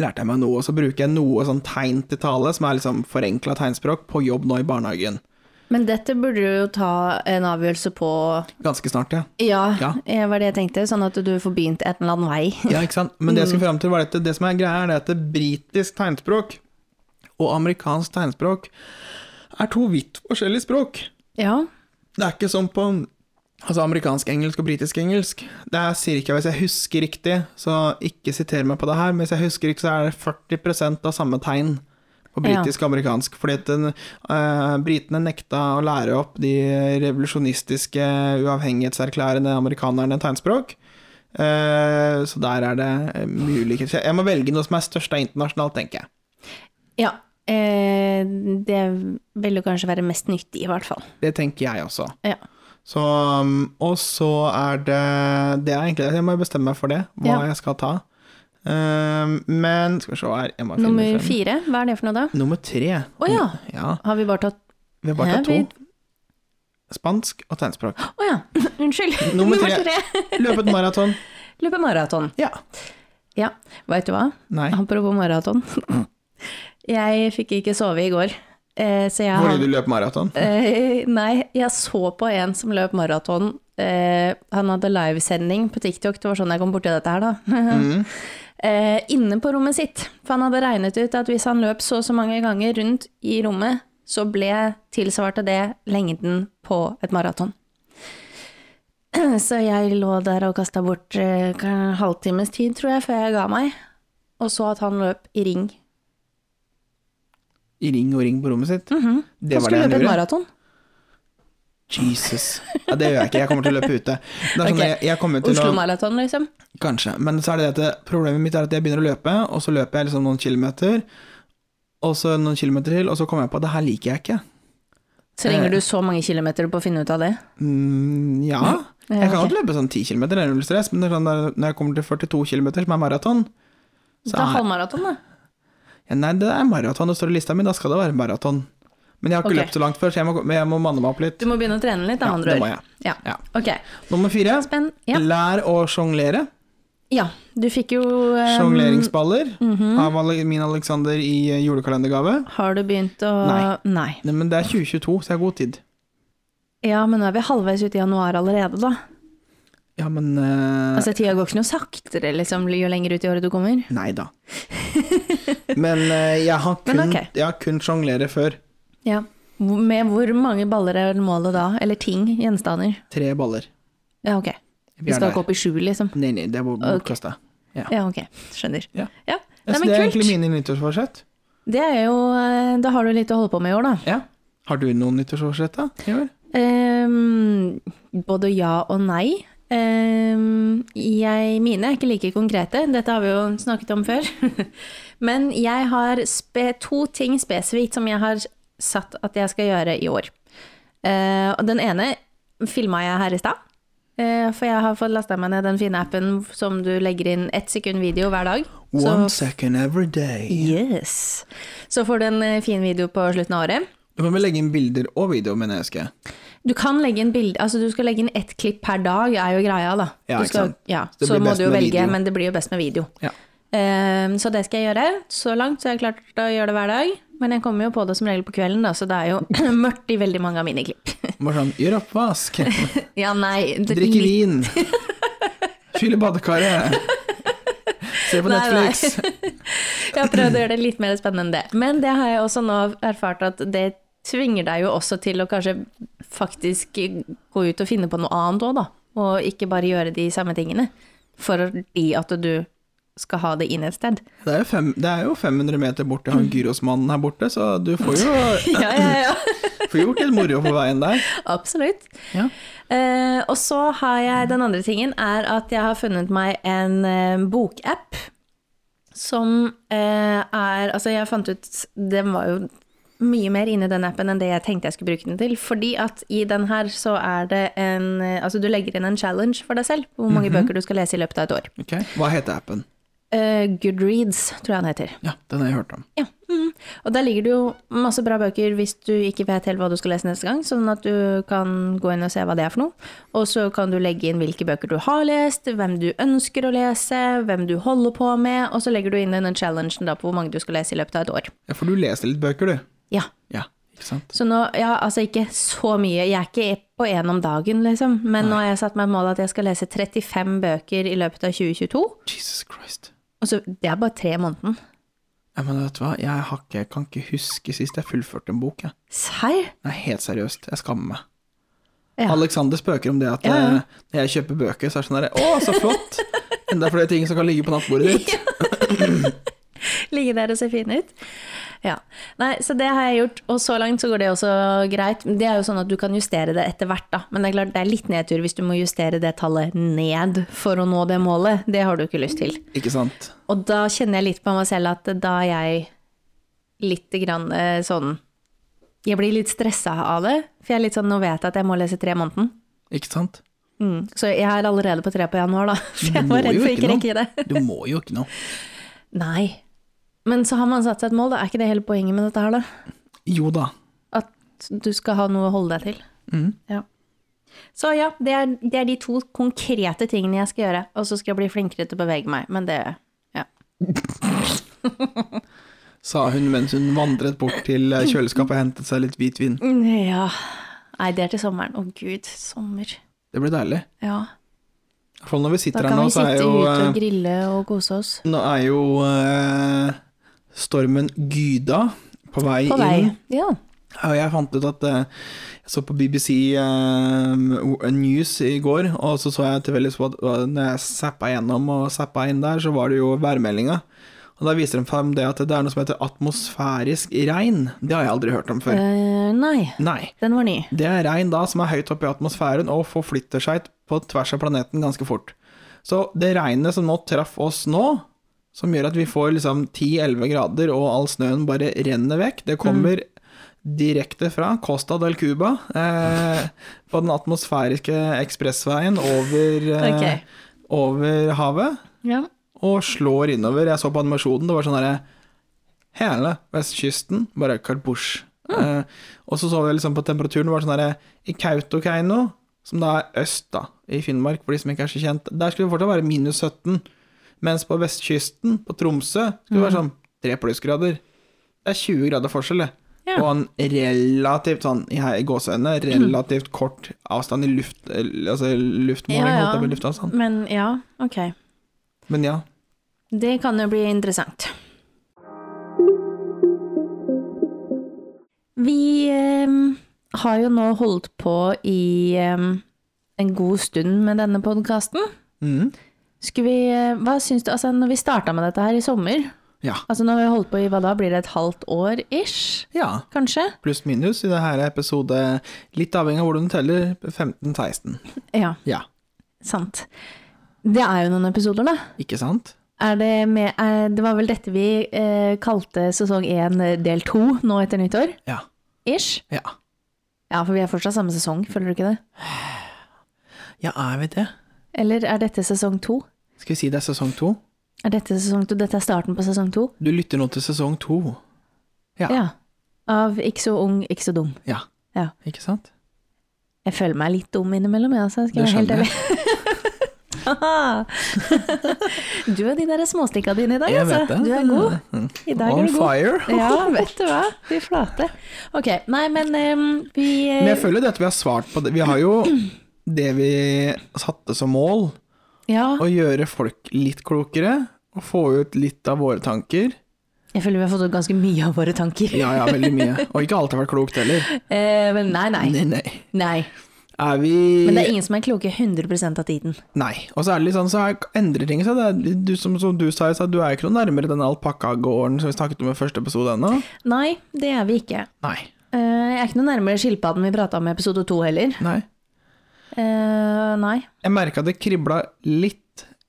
Speaker 2: lærte jeg meg noe, og så bruker jeg noe sånn tegn til tale, som er liksom forenkla tegnspråk, på jobb nå i barnehagen.
Speaker 1: Men dette burde du jo ta en avgjørelse på
Speaker 2: Ganske snart, ja.
Speaker 1: Ja,
Speaker 2: Ja.
Speaker 1: det var det jeg tenkte. Sånn at du får begynt et eller annet vei.
Speaker 2: Ja, ikke sant? Men det jeg skulle frem til var at det som er greia, er det at det britisk tegnspråk og amerikansk tegnspråk er to vidt forskjellige språk.
Speaker 1: Ja.
Speaker 2: Det er ikke som på altså amerikansk-engelsk og britisk-engelsk. Det er cirka, hvis jeg husker riktig, så ikke siter meg på det her, men hvis jeg husker riktig, så er det 40 av samme tegn på
Speaker 1: Ja.
Speaker 2: britisk og amerikansk. Fordi at den, eh, britene nekta å lære opp de revolusjonistiske, uavhengighetserklærende amerikanerne tegnspråk. Eh, så der er det eh, mulig kritikk. Jeg må velge noe som er størst av internasjonalt, tenker jeg.
Speaker 1: ja. Eh, det vil jo kanskje være mest nyttig, i hvert fall.
Speaker 2: Det tenker jeg også.
Speaker 1: Ja.
Speaker 2: Så, um, og så er det Det er egentlig det. Jeg må bestemme meg for det, hva
Speaker 1: Ja.
Speaker 2: jeg skal ta. Um, men skal vi se her jeg må finne
Speaker 1: Nummer
Speaker 2: frem.
Speaker 1: fire, hva er det for noe da?
Speaker 2: Nummer tre.
Speaker 1: Å ja,
Speaker 2: Ja,
Speaker 1: har vi bare tatt
Speaker 2: vi har bare tatt
Speaker 1: Hæ, vi-
Speaker 2: to. Spansk og tegnspråk.
Speaker 1: Å ja, unnskyld.
Speaker 2: Nummer tre. Løpe et maraton.
Speaker 1: Løpe maraton.
Speaker 2: Ja.
Speaker 1: Ja, veit du hva?
Speaker 2: Nei.
Speaker 1: Apropos maraton. Jeg fikk ikke sove i går, eh, så jeg
Speaker 2: Fordi
Speaker 1: hadde-
Speaker 2: du løp maraton?
Speaker 1: Eh, nei, jeg så på en som løp maraton. Eh, han hadde livesending på TikTok, det var sånn jeg kom borti dette her, da.
Speaker 2: Mm.
Speaker 1: eh, inne på rommet sitt. For han hadde regnet ut at hvis han løp så og så mange ganger rundt i rommet, så ble tilsvarte det lengden på et maraton. Så jeg lå der og kasta bort eh, en halvtimes tid, tror jeg, før jeg ga meg. Og så at han løp i ring.
Speaker 2: I ring og ring på rommet sitt? Det
Speaker 1: Han
Speaker 2: var det
Speaker 1: skulle
Speaker 2: han
Speaker 1: løpe et
Speaker 2: gjorde?
Speaker 1: maraton.
Speaker 2: Jesus. Ja, det gjør jeg ikke. Jeg kommer til å løpe ute. Det er sånn,
Speaker 1: Ok.
Speaker 2: jeg, jeg kommer til
Speaker 1: Oslo
Speaker 2: å
Speaker 1: Maraton, liksom.
Speaker 2: Kanskje. Men så er det det at det- problemet mitt er at jeg begynner å løpe, og så løper jeg liksom noen kilometer, og så noen kilometer til, og så kommer jeg på at det her liker jeg ikke.
Speaker 1: Trenger
Speaker 2: Eh.
Speaker 1: du så mange kilometer på å finne ut av det?
Speaker 2: Mm, ja.
Speaker 1: Ja, Eh.
Speaker 2: Jeg kan
Speaker 1: ok.
Speaker 2: godt løpe sånn 10 km, det er null stress, men det er sånn der, når jeg kommer til 42 km, som er maraton så
Speaker 1: Ta
Speaker 2: er,
Speaker 1: halvmaraton, da.
Speaker 2: ja, Nei, det er maraton, det står i lista mi, da skal det være maraton. Men jeg har ikke
Speaker 1: Ok.
Speaker 2: løpt så langt før, så jeg må, men jeg må manne meg opp litt.
Speaker 1: Du må begynne å trene litt, da,
Speaker 2: Ja,
Speaker 1: andre
Speaker 2: det må
Speaker 1: ord.
Speaker 2: jeg.
Speaker 1: Ja.
Speaker 2: Ja.
Speaker 1: Ok.
Speaker 2: Nummer fire,
Speaker 1: Spenn. Ja.
Speaker 2: lær å sjonglere.
Speaker 1: ja. Du fikk jo eh,
Speaker 2: Sjongleringsballer
Speaker 1: mhm.
Speaker 2: av Ale- min Alexander i eh, julekalendergave.
Speaker 1: Har du begynt å
Speaker 2: Nei.
Speaker 1: Nei.
Speaker 2: Nei, men det er 2022, så jeg har god tid.
Speaker 1: Ja, men nå er vi halvveis ute i januar allerede, da.
Speaker 2: Ja, men eh,
Speaker 1: Altså, tida går ikke noe saktere, liksom, jo lenger ut i året du kommer.
Speaker 2: Nei da. Men eh, jeg har kun,
Speaker 1: Men ok.
Speaker 2: jeg har kun sjonglere før.
Speaker 1: Ja. Hvor- Med hvor mange baller er målet da? Eller ting? Gjenstander?
Speaker 2: Tre baller.
Speaker 1: Ja, ok. Vi
Speaker 2: er
Speaker 1: skal
Speaker 2: der.
Speaker 1: ikke opp i sju, liksom.
Speaker 2: Nei, nei, det er bort-
Speaker 1: Ok.
Speaker 2: bortkasta.
Speaker 1: Ja, ok. Skjønner.
Speaker 2: Ja.
Speaker 1: ja.
Speaker 2: Ja,
Speaker 1: Nei,
Speaker 2: så
Speaker 1: men
Speaker 2: det er
Speaker 1: kult.
Speaker 2: egentlig mine nyttårsforsett.
Speaker 1: Det er jo eh, Da har du litt å holde på med i år, da.
Speaker 2: Ja. Har du noen nyttårsforsett, da? i år?
Speaker 1: Ehm, både ja og nei. Ehm, jeg, mine er ikke like konkrete, dette har vi jo snakket om før. Men jeg har spe, to ting spesifikt som jeg har satt at jeg skal gjøre i år. Eh, og den ene filma jeg her i stad. Eh, for jeg har fått lasta meg ned den fine appen som du legger inn ett sekund video hver dag.
Speaker 2: One second every day.
Speaker 1: yes. Så får du en eh, fin video på slutten av året.
Speaker 2: Du må vel legge inn bilder og video, mener jeg husker.
Speaker 1: Du kan legge inn bilde, altså du skal legge inn ett klipp per dag, er jo greia da.
Speaker 2: Ja,
Speaker 1: Du
Speaker 2: ikke
Speaker 1: skal,
Speaker 2: sant?
Speaker 1: ja.
Speaker 2: det
Speaker 1: Så
Speaker 2: blir
Speaker 1: må du
Speaker 2: best
Speaker 1: jo
Speaker 2: med
Speaker 1: velge,
Speaker 2: video.
Speaker 1: men det blir jo best med video.
Speaker 2: Ja.
Speaker 1: Ehm, så det skal jeg gjøre. Så langt så har jeg klart å gjøre det hver dag. Men jeg kommer jo på det som regel på kvelden, da, så det er jo mørkt i veldig mange av mine klipp.
Speaker 2: Bare sånn Gjør oppvask.
Speaker 1: ja, nei. det-
Speaker 2: Drikke vin. Fylle badekaret. Se på
Speaker 1: Nei, nei.
Speaker 2: Netflix.
Speaker 1: Ja, Jeg har prøvd å gjøre det litt mer spennende enn det. Men det har jeg også nå erfart at det tvinger deg jo også til å kanskje faktisk gå ut og finne på noe annet òg, da. Og ikke bare gjøre de samme tingene. Fordi at du skal ha det inn et sted.
Speaker 2: Det er jo, fem, det er jo 500 meter bort til han Gyrosmannen her borte, så du får jo
Speaker 1: Ja, ja, ja.
Speaker 2: får gjort litt moro på veien der.
Speaker 1: Absolutt.
Speaker 2: Ja.
Speaker 1: Eh, og så har jeg den andre tingen, er at jeg har funnet meg en eh, bokapp som eh, er Altså, jeg fant ut Den var jo mye mer inne i den appen enn det jeg tenkte jeg skulle bruke den til. Fordi at i den her så er det en eh, Altså, du legger inn en challenge for deg selv på hvor mange bøker du skal lese i løpet av et år.
Speaker 2: Ok, Hva heter appen?
Speaker 1: Eh, Goodreads, tror jeg den heter.
Speaker 2: Ja, den har jeg hørt om.
Speaker 1: Ja. Mm. Og der ligger det jo masse bra bøker hvis du ikke vet helt hva du skal lese neste gang, sånn at du kan gå inn og se hva det er for noe. Og så kan du legge inn hvilke bøker du har lest, hvem du ønsker å lese, hvem du holder på med, og så legger du inn den challengen da på hvor mange du skal lese i løpet av et år.
Speaker 2: Ja, For du leser litt bøker, du?
Speaker 1: Ja.
Speaker 2: Ja, ikke sant?
Speaker 1: Så nå, ja, altså ikke så mye, jeg er ikke på én om dagen, liksom, men nå har jeg satt meg et mål at jeg skal lese 35 bøker i løpet av 2022,
Speaker 2: Jesus Christ.
Speaker 1: og så det er bare tre måneder.
Speaker 2: Ja, men vet du hva, jeg, har ikke, jeg kan ikke huske sist jeg fullførte en bok, jeg.
Speaker 1: Serr?
Speaker 2: Nei, helt seriøst, jeg skammer meg.
Speaker 1: Ja.
Speaker 2: Alexander spøker om det at
Speaker 1: Ja, ja.
Speaker 2: eh, når jeg kjøper bøker, så er det sånn der Å, så flott! Enda flere ting som kan ligge på nattbordet ditt.
Speaker 1: Ligge der og se fin ut. Ja. Nei, så det har jeg gjort, og så langt så går det også greit. Det er jo sånn at du kan justere det etter hvert, da. Men det er klart det er litt nedtur hvis du må justere det tallet ned for å nå det målet. Det har du ikke lyst til.
Speaker 2: Ikke sant?
Speaker 1: Og da kjenner jeg litt på meg selv at da er jeg litt grann eh, sånn Jeg blir litt stressa av det, for jeg er litt sånn nå vet jeg at jeg må lese tre måneden.
Speaker 2: Ikke sant?
Speaker 1: Mm. Så jeg er allerede på tre på januar, da. For jeg
Speaker 2: Du
Speaker 1: var
Speaker 2: må
Speaker 1: redd
Speaker 2: jo
Speaker 1: for ikke å rekke det.
Speaker 2: noe. Du må jo ikke noe.
Speaker 1: Nei. Men så har man satt seg et mål, da. Er ikke det hele poenget med dette her, da?
Speaker 2: Jo da.
Speaker 1: At du skal ha noe å holde deg til.
Speaker 2: Mhm.
Speaker 1: Ja. Så ja, det er, det er de to konkrete tingene jeg skal gjøre. Og så skal jeg bli flinkere til å bevege meg, men det ja.
Speaker 2: Sa hun mens hun vandret bort til eh, kjøleskapet og hentet seg litt hvitvin.
Speaker 1: ja. Nei, det er til sommeren. Å gud, sommer.
Speaker 2: Det blir deilig.
Speaker 1: Ja.
Speaker 2: I hvert fall når vi
Speaker 1: Da
Speaker 2: sitter her
Speaker 1: kan
Speaker 2: nå,
Speaker 1: vi
Speaker 2: så er
Speaker 1: sitte
Speaker 2: jo
Speaker 1: ute og
Speaker 2: eh,
Speaker 1: grille og kose oss.
Speaker 2: Nå er jo eh, stormen Gyda på vei,
Speaker 1: På vei.
Speaker 2: inn.
Speaker 1: Ja.
Speaker 2: Og jeg fant ut at eh, Jeg så på BBC eh, News i går, og så så jeg tilfeldigvis på at eh, når jeg zappa gjennom og zappa inn der, så var det jo værmeldinga. Og da viser de frem det at det er noe som heter atmosfærisk regn. Det har jeg aldri hørt om før.
Speaker 1: Eh, nei,
Speaker 2: Nei.
Speaker 1: den var ny.
Speaker 2: Det er regn da som er høyt oppe i atmosfæren og forflytter seg på tvers av planeten ganske fort. Så det regnet som nå traff oss nå, som gjør at vi får liksom 10-11 grader og all snøen bare renner vekk, det kommer direkte fra Costa del Cuba eh, på den atmosfæriske ekspressveien over, eh,
Speaker 1: Ok.
Speaker 2: over havet
Speaker 1: Ja.
Speaker 2: og slår innover. Jeg så på animasjonen, det var sånn herre Hele vestkysten, bare karbusj. Eh, og så så vi liksom på temperaturen, det var sånn herre I Kautokeino, som da er øst, da, i Finnmark, for de som ikke er så kjent, der skulle det fortsatt være minus 17. Mens på vestkysten, på Tromsø, skulle det
Speaker 1: Mm.
Speaker 2: være sånn tre plussgrader. Det er 20 grader forskjell, det.
Speaker 1: Ja. Mm.
Speaker 2: Og en relativt sånn, i her- i gåseøynene, relativt kort avstand i luft, altså luftmåling,
Speaker 1: Ja, ja.
Speaker 2: holdt jeg på å si, luftavstand.
Speaker 1: Men ja, ok.
Speaker 2: sånn. Men ja.
Speaker 1: Det kan jo bli interessant. Vi ehm, har jo nå holdt på i ehm, en god stund med denne podkasten.
Speaker 2: Mhm.
Speaker 1: Skulle vi eh, Hva syns du Altså, når vi starta med dette her i sommer
Speaker 2: ja.
Speaker 1: Altså, når vi har holdt på i hva da? Blir det et halvt år ish?
Speaker 2: Ja.
Speaker 1: Kanskje?
Speaker 2: pluss minus i det her episode, litt avhengig av hvordan du teller, 15-16.
Speaker 1: Ja,
Speaker 2: Ja,
Speaker 1: sant. Det er jo noen episoder, da.
Speaker 2: ikke sant?
Speaker 1: Er det, med, er, det var vel dette vi eh, kalte sesong én eh, del to nå etter nyttår?
Speaker 2: Ja.
Speaker 1: Ish?
Speaker 2: Ja,
Speaker 1: Ja, for vi er fortsatt samme sesong, føler du ikke det?
Speaker 2: ja er vi det?
Speaker 1: Eller er dette sesong to?
Speaker 2: Skal vi si det er sesong to?
Speaker 1: Er dette sesong to? Dette er starten på sesong to?
Speaker 2: Du lytter nå til sesong to. Ja.
Speaker 1: Av ikke så ung, ikke så dum.
Speaker 2: Ja.
Speaker 1: Ja.
Speaker 2: Ikke sant?
Speaker 1: Jeg føler meg litt dum innimellom, jeg, altså. Skal
Speaker 2: Det
Speaker 1: jeg være helt ærlig.
Speaker 2: skjønner
Speaker 1: Haha. du og de der småstikka dine i dag,
Speaker 2: Jeg
Speaker 1: altså.
Speaker 2: vet det.
Speaker 1: Du er god.
Speaker 2: Mm.
Speaker 1: I dag
Speaker 2: On
Speaker 1: er du god.
Speaker 2: fire.
Speaker 1: Ja, vet du hva. Fy flate. Ok, nei, men ehm, vi eh,
Speaker 2: Men jeg føler det at vi har svart på det. Vi har jo det vi satte som mål,
Speaker 1: Ja,
Speaker 2: å gjøre folk litt klokere, og få ut litt av våre tanker.
Speaker 1: Jeg føler vi har fått ut ganske mye av våre tanker.
Speaker 2: Ja, ja, veldig mye. Og ikke alt har vært klokt heller.
Speaker 1: Eh, men nei, nei.
Speaker 2: Nei, nei.
Speaker 1: Nei.
Speaker 2: Er vi
Speaker 1: Men det er ingen som er kloke 100 av tiden.
Speaker 2: Nei. Og så er det litt sånn, så er, endrer ting seg. Det er, du, som, som du sa, sa, du er ikke noe nærmere den alpakkagården som vi snakket om i første episode ennå.
Speaker 1: Nei, det er vi ikke.
Speaker 2: Nei.
Speaker 1: Eh, jeg er ikke noe nærmere skilpadden vi prata om i episode to heller.
Speaker 2: Nei.
Speaker 1: Eh, nei.
Speaker 2: Jeg merka det kribla litt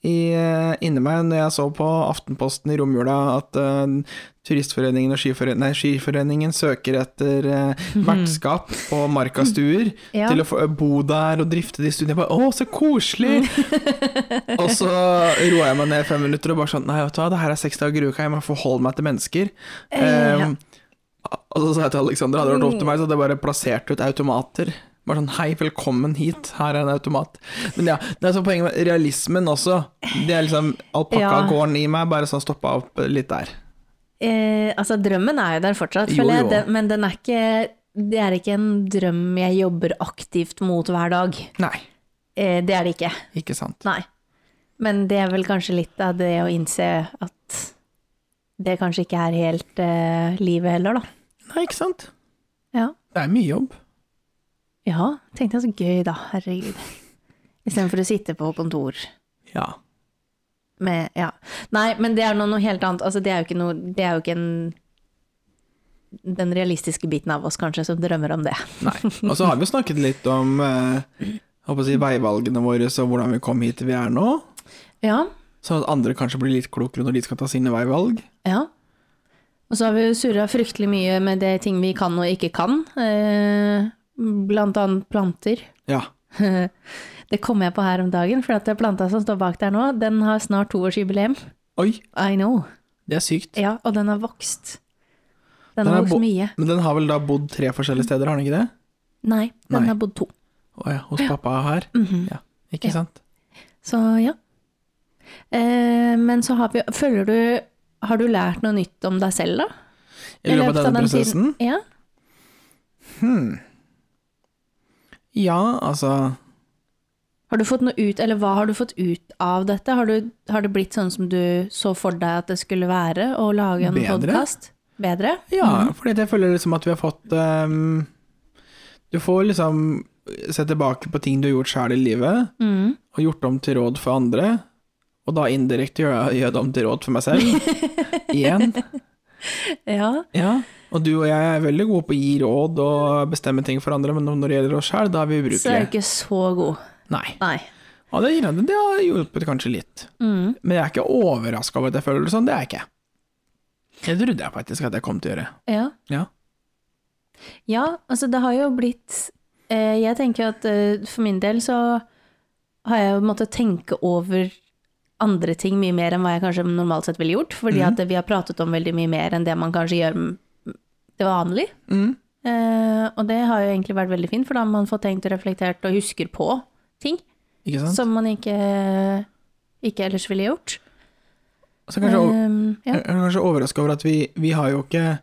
Speaker 2: i, eh, inni meg når jeg så på Aftenposten i romjula at eh, Turistforeningen og skiforeningen, nei, skiforeningen søker etter uh, vertskap på markastuer
Speaker 1: Ja.
Speaker 2: til å få eh, bo der og drifte de studiene. Jeg bare, Å, så koselig! og så roa jeg meg ned fem minutter og bare sånn Nei, vet du hva, det her er seks dager i uka, jeg må forholde meg til mennesker.
Speaker 1: Eh, ja.
Speaker 2: Eh, og så sa jeg til Alexander, hadde det vært opp til meg, så hadde jeg bare plassert ut automater. Bare sånn hei, velkommen hit, her er en automat. Men ja, det er så poenget med realismen også. Det er liksom alpakkagården i meg, bare sånn stoppa opp litt der.
Speaker 1: Eh, altså, drømmen er jo der fortsatt,
Speaker 2: Jo,
Speaker 1: føler jeg.
Speaker 2: jo.
Speaker 1: Den- Men den er ikke Det er ikke en drøm jeg jobber aktivt mot hver dag.
Speaker 2: Nei,
Speaker 1: Eh, det er det ikke.
Speaker 2: ikke sant.
Speaker 1: Nei. Men det er vel kanskje litt av det å innse at det kanskje ikke er helt eh, livet heller, da.
Speaker 2: Nei, ikke sant.
Speaker 1: Ja.
Speaker 2: Det er mye jobb.
Speaker 1: ja, tenkte jeg så gøy, da. Herregud. Istedenfor å sitte på kontor.
Speaker 2: Ja.
Speaker 1: Med, ja. Nei, men det er noe, noe helt annet. Altså, det er jo ikke, noe, det er jo ikke en, den realistiske biten av oss, kanskje, som drømmer om det.
Speaker 2: Nei. Og så har vi jo snakket litt om eh, håper å si, veivalgene våre og hvordan vi kom hit vi er nå.
Speaker 1: Ja.
Speaker 2: Sånn at andre kanskje blir litt klokere når de skal ta sine veivalg.
Speaker 1: ja. Og så har vi jo surra fryktelig mye med det ting vi kan og ikke kan. Eh, blant annet planter.
Speaker 2: Ja.
Speaker 1: Det kom jeg på her om dagen, for at planta som står bak der nå, den har snart toårsjubileum.
Speaker 2: Oi,
Speaker 1: I know.
Speaker 2: det er sykt.
Speaker 1: Ja, og den har vokst. Den,
Speaker 2: Den
Speaker 1: har
Speaker 2: har
Speaker 1: vokst
Speaker 2: bo-
Speaker 1: mye.
Speaker 2: Men den har vel da bodd tre forskjellige steder, har den ikke det?
Speaker 1: Nei, den
Speaker 2: Nei.
Speaker 1: har bodd to.
Speaker 2: Å ja, hos pappa her?
Speaker 1: Mhm.
Speaker 2: Ja, ikke
Speaker 1: Ja.
Speaker 2: sant?
Speaker 1: Så ja. Eh, men så har vi Føler du Har du lært noe nytt om deg selv, da?
Speaker 2: I løpet av denne
Speaker 1: den
Speaker 2: prosessen? Hmm.
Speaker 1: tiden? Ja.
Speaker 2: Ja, altså
Speaker 1: Har du fått noe ut, eller hva har du fått ut av dette? Har, du, har det blitt sånn som du så for deg at det skulle være, å lage en
Speaker 2: Bedre.
Speaker 1: podkast? Bedre?
Speaker 2: Ja,
Speaker 1: Mhm.
Speaker 2: fordi jeg føler liksom at vi har fått ehm, Du får liksom se tilbake på ting du har gjort sjøl i livet,
Speaker 1: Mm.
Speaker 2: og gjort om til råd for andre, og da indirekte gjør jeg gjør det om til råd for meg selv. Igjen.
Speaker 1: Ja.
Speaker 2: Ja. Og du og jeg er veldig gode på å gi råd og bestemme ting for andre, men når det gjelder oss sjøl, da er vi
Speaker 1: Så er du
Speaker 2: ubrukelige.
Speaker 1: ikke så god.
Speaker 2: Nei.
Speaker 1: Nei.
Speaker 2: Og det, gir- det har hjulpet kanskje litt.
Speaker 1: Mm.
Speaker 2: Men jeg er ikke overraska over at jeg føler det sånn, det er jeg ikke. Det trodde jeg faktisk at jeg kom til å gjøre.
Speaker 1: Ja.
Speaker 2: Ja.
Speaker 1: ja, altså det har jo blitt eh, Jeg tenker at eh, for min del så har jeg jo måttet tenke over andre ting mye mer enn hva jeg kanskje normalt sett ville gjort,
Speaker 2: Mhm.
Speaker 1: fordi at vi har pratet om veldig mye mer enn det man kanskje gjør m- det vanlig.
Speaker 2: Mm.
Speaker 1: Eh, og det har jo egentlig vært veldig fint, for da har man fått tenkt og reflektert og husker på ting
Speaker 2: Ikke sant?
Speaker 1: som man ikke, ikke ellers ville gjort.
Speaker 2: Så kanskje, over-
Speaker 1: Eh, ja.
Speaker 2: jeg er kanskje overraska over at vi, vi har jo ikke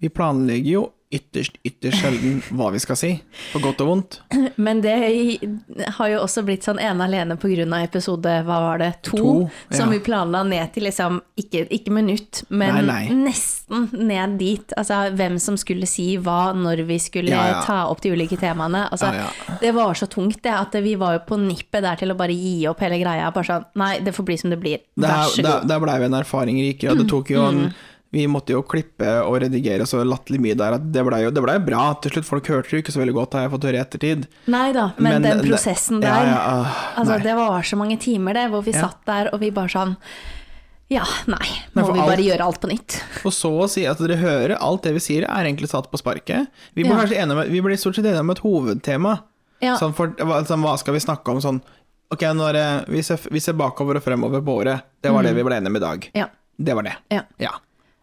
Speaker 2: Vi planlegger jo ytterst, ytterst sjelden hva vi skal si, på godt og vondt.
Speaker 1: Men det har jo også blitt sånn ene alene på grunn av episode hva var det, to,
Speaker 2: To, ja.
Speaker 1: som vi planla ned til liksom ikke, ikke minutt, men
Speaker 2: Nei, nei.
Speaker 1: nesten ned dit. Altså hvem som skulle si hva når vi skulle
Speaker 2: Ja, ja.
Speaker 1: ta opp de ulike temaene. Altså,
Speaker 2: Ja,
Speaker 1: Det var så tungt det at vi var jo på nippet der til å bare gi opp hele greia. Bare sånn nei, det får bli som det blir. Vær
Speaker 2: Der,
Speaker 1: så
Speaker 2: der,
Speaker 1: god. Mm.
Speaker 2: der blei vi en erfaring rikere, og det tok jo en vi måtte jo klippe og redigere så latterlig mye der at det blei jo det ble bra til slutt. Folk hørte det jo ikke så veldig godt, har jeg fått høre i ettertid.
Speaker 1: Nei da, men, den
Speaker 2: det-
Speaker 1: prosessen der.
Speaker 2: ja, ja, øh,
Speaker 1: Altså,
Speaker 2: nei.
Speaker 1: det var så mange timer det, hvor vi satt der og vi bare sånn Ja, nei.
Speaker 2: Nei,
Speaker 1: Må
Speaker 2: for
Speaker 1: vi
Speaker 2: alt-
Speaker 1: bare gjøre alt på nytt?
Speaker 2: Og så å si at dere hører, alt det vi sier er egentlig satt på sparket. Vi blir,
Speaker 1: Ja.
Speaker 2: kanskje enige om, vi blir stort sett enige om et hovedtema.
Speaker 1: Ja.
Speaker 2: Sånn for, hva- sånn, hva skal vi snakke om sånn Ok, nå er det, vi, ser, vi ser bakover og fremover på året. Det
Speaker 1: Mm.
Speaker 2: var det vi ble enige om i dag.
Speaker 1: Ja.
Speaker 2: Det var det.
Speaker 1: Ja.
Speaker 2: Ja.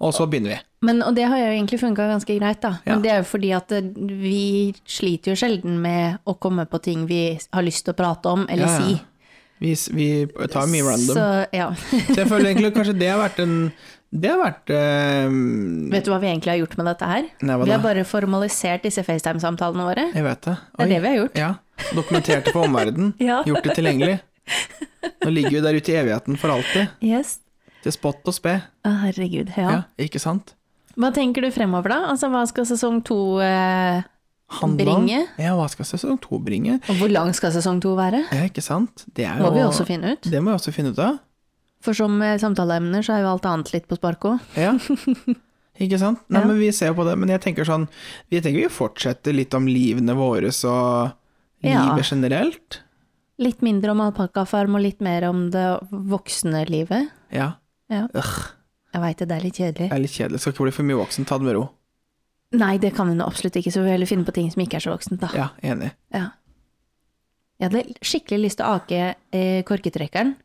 Speaker 2: Og så begynner vi.
Speaker 1: Men, og det har jo egentlig funka ganske greit, da. Men
Speaker 2: Ja.
Speaker 1: det er jo fordi at eh, vi sliter jo sjelden med å komme på ting vi har lyst til å prate om eller
Speaker 2: Ja, ja.
Speaker 1: si.
Speaker 2: Vi, s- vi tar mye
Speaker 1: Så
Speaker 2: random. Så,
Speaker 1: ja.
Speaker 2: jeg føler egentlig kanskje det har vært en Det har vært eh,
Speaker 1: Vet du hva vi egentlig har gjort med dette her?
Speaker 2: Nei, hva
Speaker 1: vi
Speaker 2: da?
Speaker 1: har bare formalisert disse FaceTime-samtalene våre.
Speaker 2: Jeg vet det.
Speaker 1: Det er det vi har gjort.
Speaker 2: Ja. Dokumentert det for omverdenen.
Speaker 1: Ja.
Speaker 2: Gjort det tilgjengelig. Nå ligger vi der ute i evigheten for alltid.
Speaker 1: Yes.
Speaker 2: Til spott og spe.
Speaker 1: Å, herregud. Ja.
Speaker 2: Ja, ikke sant?
Speaker 1: Hva tenker du fremover, da? Altså, hva skal sesong to eh,
Speaker 2: Handel.
Speaker 1: Bringe.
Speaker 2: Ja, hva skal sesong to bringe?
Speaker 1: Og hvor lang skal sesong to være?
Speaker 2: Ja, ikke sant? Det er
Speaker 1: Må
Speaker 2: jo
Speaker 1: vi også finne ut.
Speaker 2: Det må vi også finne ut av.
Speaker 1: For som eh, samtaleemner så er jo alt annet litt på sparket òg.
Speaker 2: Ja. Ikke sant? Nei,
Speaker 1: Ja.
Speaker 2: men vi ser jo på det. Men jeg tenker sånn Vi tenker vi fortsetter litt om livene våre og
Speaker 1: Ja.
Speaker 2: livet generelt.
Speaker 1: Litt mindre om alpakkafarm og litt mer om det voksne livet.
Speaker 2: Ja.
Speaker 1: Ja.
Speaker 2: Øh,
Speaker 1: Jeg veit det, det er litt kjedelig.
Speaker 2: det er litt kjedelig. Skal ikke bli for mye voksen. Ta det med ro.
Speaker 1: Nei, det kan hun absolutt ikke, så vi får heller finne på ting som ikke er så voksent, da.
Speaker 2: Ja, enig.
Speaker 1: Ja. Jeg hadde skikkelig lyst til å ake eh, korketrekkeren.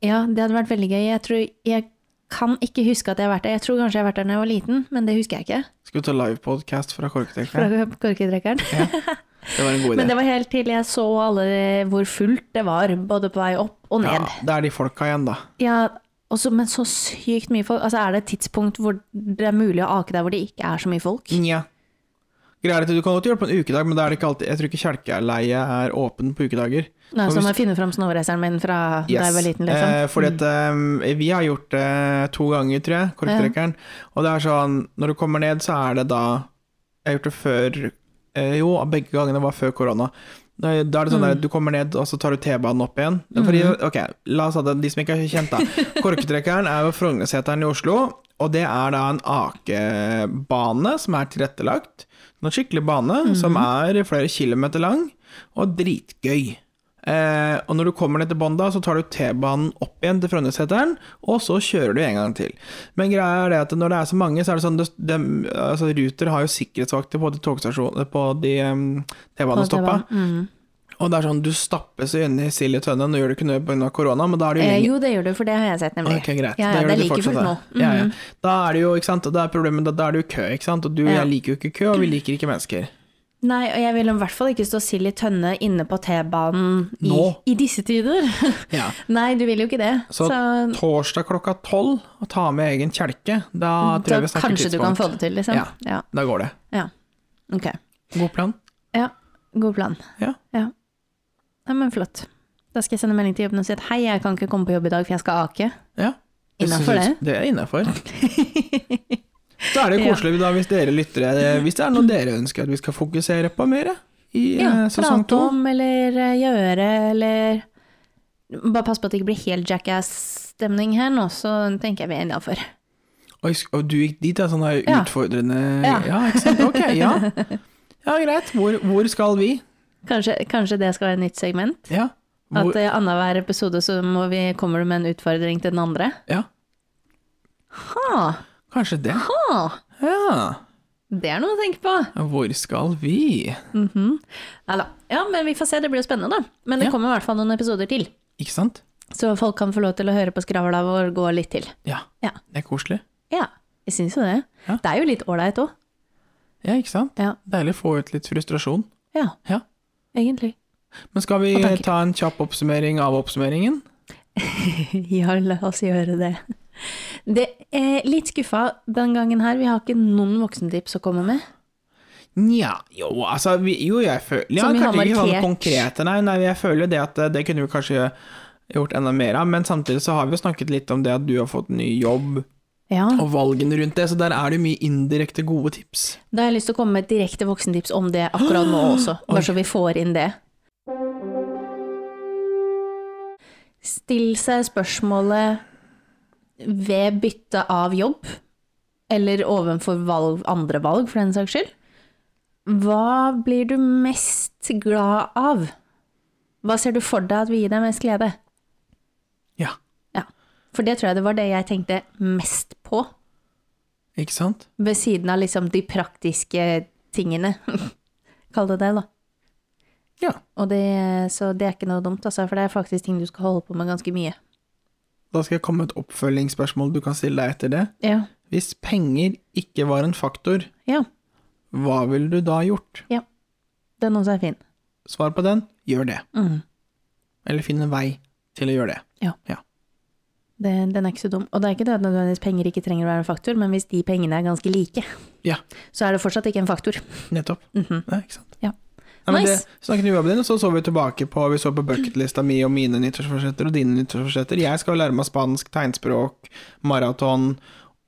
Speaker 1: Ja, det hadde vært veldig gøy. Jeg tror jeg kan ikke huske at jeg har vært der. Jeg tror kanskje jeg har vært der da jeg var liten, men det husker jeg ikke.
Speaker 2: Skal vi ta livepodkast fra Korketrekkeren?
Speaker 1: Fra korketrekkeren.
Speaker 2: Det var en god idé.
Speaker 1: Men det var helt til jeg så alle hvor fullt det var, både på vei opp og
Speaker 2: ja,
Speaker 1: ned.
Speaker 2: det er de folka igjen, da.
Speaker 1: Ja, og så- men så sykt mye folk. Altså, er det et tidspunkt hvor det er mulig å ake der hvor det ikke er så mye folk?
Speaker 2: Nja. Greia er at Du kan godt gjøre det på en ukedag, men da er det ikke alltid Jeg tror ikke kjelkeleie er åpen på ukedager.
Speaker 1: Nei,
Speaker 2: Og
Speaker 1: så
Speaker 2: hvis-
Speaker 1: må jeg finne fram snowraceren min fra da jeg var liten, liksom. Mm.
Speaker 2: Eh, fordi at eh, vi har gjort det to ganger, tror jeg, korktrekkeren. Og det er sånn, når du kommer ned, så er det da Jeg har gjort det før eh, Jo, begge gangene var før korona. Da da er det sånn der, Du kommer ned, og så tar du T-banen opp igjen. Det er Fordi, ok, La oss ha det, de som ikke er kjent, da. Korktrekkeren er jo Frognerseteren i Oslo, og det er da en akebane som er tilrettelagt. En skikkelig bane som er flere kilometer lang, og dritgøy. Eh, og når du kommer ned til Bonda, så tar du T-banen opp igjen til Frognerseteren, og så kjører du en gang til. Men greia er det at når det er så mange, så er det sånn det, det, altså, Ruter har jo sikkerhetsvakter på de togstasjonene På de um, T-banestoppa.
Speaker 1: Mm.
Speaker 2: Og det er sånn, du stappes jo inn i sild i tønne, nå gjør du ikke noe pga. korona, men da er det jo
Speaker 1: Eh,
Speaker 2: lenger
Speaker 1: jo, det gjør du, for det har jeg sett, nemlig.
Speaker 2: Ok, greit.
Speaker 1: Ja,
Speaker 2: Da
Speaker 1: ja,
Speaker 2: gjør
Speaker 1: det
Speaker 2: du
Speaker 1: er like
Speaker 2: fortsatt
Speaker 1: fullt nå. Mm.
Speaker 2: det. Ja, ja. Da er det jo, ikke sant, og da er problemet, da, da er det jo kø, ikke sant, og du,
Speaker 1: Ja.
Speaker 2: jeg liker jo ikke kø, og vi liker ikke mennesker.
Speaker 1: Nei, og jeg vil i hvert fall ikke stå sild i tønne inne på T-banen i,
Speaker 2: Nå.
Speaker 1: i disse tider.
Speaker 2: Ja.
Speaker 1: Nei, du vil jo ikke det.
Speaker 2: Så, torsdag klokka tolv, å ta med egen kjelke, da tror
Speaker 1: Mm, da
Speaker 2: jeg vi snakker
Speaker 1: kanskje du kan
Speaker 2: tidspunkt.
Speaker 1: få det til, liksom.
Speaker 2: Ja.
Speaker 1: ja.
Speaker 2: Da går det.
Speaker 1: ja. Ok.
Speaker 2: God plan.
Speaker 1: Ja, god plan.
Speaker 2: Ja.
Speaker 1: ja. Nei, men flott. Da skal jeg sende melding til jobben og si at hei, jeg kan ikke komme på jobb i dag, for jeg skal ake.
Speaker 2: Ja.
Speaker 1: Innenfor det.
Speaker 2: Det er innafor. Så er det koselig da hvis dere lyttere eh, Hvis det er noe dere ønsker at vi skal fokusere på mer eh, i
Speaker 1: Mm. Ja,
Speaker 2: eh, sesong
Speaker 1: prate
Speaker 2: to.
Speaker 1: om eller eh, gjøre eller Bare pass på at det ikke blir helt jackass-stemning her nå, så tenker jeg vi er innafor.
Speaker 2: Oi, sk- Og du gikk dit, ja? Sånn der
Speaker 1: Ja.
Speaker 2: utfordrende ja.
Speaker 1: Ja.
Speaker 2: ikke sant. Ok, ja. Ja, greit. Hvor, hvor skal vi?
Speaker 1: Kanskje, kanskje det skal være et nytt segment?
Speaker 2: Ja.
Speaker 1: At
Speaker 2: Hvor,
Speaker 1: eh, annenhver episode så må vi, kommer du med en utfordring til den andre?
Speaker 2: ja.
Speaker 1: Ha,
Speaker 2: Kanskje det.
Speaker 1: ha.
Speaker 2: Ja.
Speaker 1: Det er noe å tenke på.
Speaker 2: Hvor skal vi?
Speaker 1: Neida. Ja, men vi får se. Det blir jo spennende, da. Men det
Speaker 2: Ja.
Speaker 1: kommer i hvert fall noen episoder til.
Speaker 2: Ikke sant?
Speaker 1: Så folk kan få lov til å høre på skravla vår gå litt til.
Speaker 2: Ja.
Speaker 1: Ja.
Speaker 2: Det er koselig.
Speaker 1: Ja, jeg syns jo det.
Speaker 2: Ja.
Speaker 1: Det er jo litt ålreit òg.
Speaker 2: Ja, ikke sant?
Speaker 1: Ja.
Speaker 2: Deilig å få ut litt frustrasjon.
Speaker 1: Ja,
Speaker 2: Ja.
Speaker 1: egentlig.
Speaker 2: Men skal vi
Speaker 1: Og tanker.
Speaker 2: ta en kjapp oppsummering av oppsummeringen?
Speaker 1: Ja, la oss gjøre det. Det er litt skuffa den gangen her. Vi har ikke noen voksentips å komme med.
Speaker 2: Nja, jo, altså vi, Jo, jeg føler ja,
Speaker 1: Som vi har
Speaker 2: Kanskje ikke sånn
Speaker 1: markert.
Speaker 2: konkrete, nei, nei. Jeg føler det at eh, det kunne vi kanskje gjort enda mer av, men samtidig så har vi jo snakket litt om det at du har fått ny jobb,
Speaker 1: Ja,
Speaker 2: og valgene rundt det, så der er det jo mye indirekte gode tips.
Speaker 1: Da har jeg lyst til å komme med et direkte voksentips om det akkurat nå også, bare så vi får inn det. Still seg spørsmålet ved bytte av jobb, eller ovenfor valg, andre valg for den saks skyld. Hva blir du mest glad av? Hva ser du for deg at vil gi deg mest glede?
Speaker 2: Ja,
Speaker 1: Ja. For det tror jeg det var det jeg tenkte mest på,
Speaker 2: ikke sant?
Speaker 1: ved siden av liksom de praktiske tingene. Kall det det, da.
Speaker 2: Ja.
Speaker 1: Og det, så det er ikke noe dumt, altså, for det er faktisk ting du skal holde på med ganske mye.
Speaker 2: Da skal jeg komme med et oppfølgingsspørsmål du kan stille deg etter det.
Speaker 1: Ja.
Speaker 2: Hvis penger ikke var en faktor,
Speaker 1: ja.
Speaker 2: hva ville du da gjort?
Speaker 1: Den også er fin.
Speaker 2: Svar på den, gjør det.
Speaker 1: Mm.
Speaker 2: Eller finn en vei til å gjøre det.
Speaker 1: Det, den er ikke så dum. Og det er ikke det at nødvendigvis penger ikke trenger å være en faktor, men hvis de pengene er ganske like,
Speaker 2: Ja,
Speaker 1: så er det fortsatt ikke en faktor.
Speaker 2: nettopp.
Speaker 1: Mhm.
Speaker 2: Nei, ikke sant? Nei, men
Speaker 1: Nice.
Speaker 2: det, snakket om jobben din, og så så vi tilbake på Vi så på bucketlista mi og mine nyttårsforsetter og dine nyttårsforsetter. Jeg skal jo lære meg spansk, tegnspråk, maraton,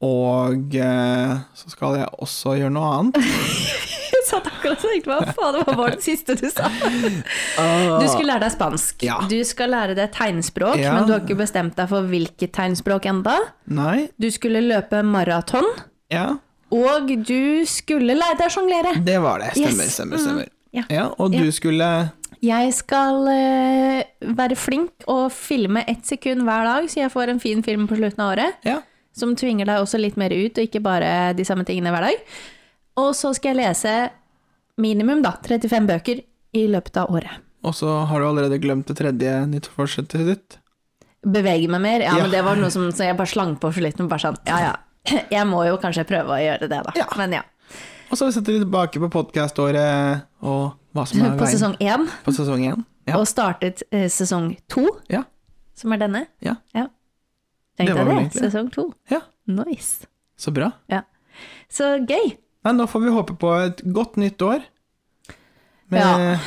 Speaker 2: og eh, så skal jeg også gjøre noe annet.
Speaker 1: Jeg satt akkurat og tenkte hva faen, hva var det siste du sa? Du skulle lære deg spansk.
Speaker 2: Ah. Ja.
Speaker 1: Du skal lære deg tegnspråk,
Speaker 2: Ja.
Speaker 1: men du har ikke bestemt deg for hvilket tegnspråk enda.
Speaker 2: Nei,
Speaker 1: Du skulle løpe maraton,
Speaker 2: ja,
Speaker 1: og du skulle lære deg å sjonglere.
Speaker 2: det var det. Stemmer,
Speaker 1: Yes. Mm.
Speaker 2: stemmer, stemmer.
Speaker 1: Ja.
Speaker 2: Ja, og du skulle
Speaker 1: Jeg skal eh, være flink og filme ett sekund hver dag, så jeg får en fin film på slutten av året.
Speaker 2: Ja.
Speaker 1: Som tvinger deg også litt mer ut, og ikke bare de samme tingene hver dag. Og så skal jeg lese minimum da, 35 bøker i løpet av året.
Speaker 2: Og så har du allerede glemt det tredje nyttårsforsettet ditt.
Speaker 1: Bevege meg mer? Ja,
Speaker 2: Ja.
Speaker 1: men det var noe som så jeg bare slang på for litt. men Bare sånn, ja, ja. Jeg må jo kanskje prøve å gjøre det, da.
Speaker 2: Ja.
Speaker 1: Men ja.
Speaker 2: Og så setter vi tilbake på podkaståret og hva som er
Speaker 1: På
Speaker 2: veien
Speaker 1: sesong én,
Speaker 2: på sesong én. Ja.
Speaker 1: og startet eh, sesong to,
Speaker 2: Ja.
Speaker 1: som er denne.
Speaker 2: Ja.
Speaker 1: Tenkte
Speaker 2: Det
Speaker 1: jeg
Speaker 2: var vel
Speaker 1: det.
Speaker 2: egentlig det.
Speaker 1: Sesong to.
Speaker 2: Ja.
Speaker 1: Nice.
Speaker 2: Så bra.
Speaker 1: Så gøy.
Speaker 2: Nei, nå får vi håpe på et godt nytt år. Men, ja.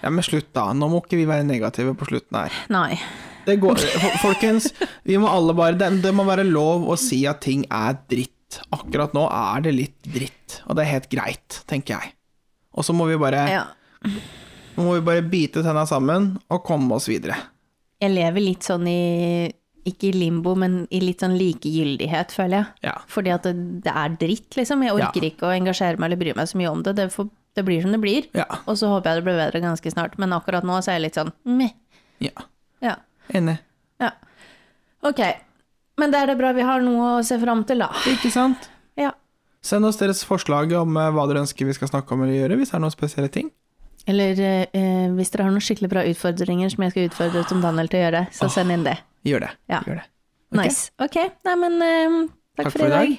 Speaker 1: Ja.
Speaker 2: men slutt, da. Nå må ikke vi være negative på slutten her.
Speaker 1: Nei.
Speaker 2: Det går, folkens, vi må alle bare det, det må være lov å si at ting er dritt. Akkurat nå er det litt dritt, og det er helt greit, tenker jeg. Og så må vi bare,
Speaker 1: Ja.
Speaker 2: nå må vi bare bite tenna sammen og komme oss videre.
Speaker 1: Jeg lever litt sånn i Ikke i limbo, men i litt sånn likegyldighet, føler jeg.
Speaker 2: Ja.
Speaker 1: Fordi at det, det er dritt, liksom. Jeg orker ikke å engasjere meg eller bry meg så mye om det. Det, får, det blir som det blir.
Speaker 2: Ja.
Speaker 1: Og så håper jeg det blir bedre ganske snart, men akkurat nå så er jeg litt sånn meh.
Speaker 2: ja.
Speaker 1: Ja.
Speaker 2: Enig.
Speaker 1: Ja. Ok. Men da er det bra vi har noe å se fram til, da.
Speaker 2: Ikke sant?
Speaker 1: Ja.
Speaker 2: Send oss deres forslag om eh, hva dere ønsker vi skal snakke om eller gjøre, hvis det er noen spesielle ting.
Speaker 1: Eller eh, hvis dere har noen skikkelig bra utfordringer som jeg skal utfordre Tom Daniel til å gjøre, så send inn det.
Speaker 2: Gjør det.
Speaker 1: Ja.
Speaker 2: Gjør det. Ok.
Speaker 1: Nice. Ok. Nei, men eh, takk, for i dag.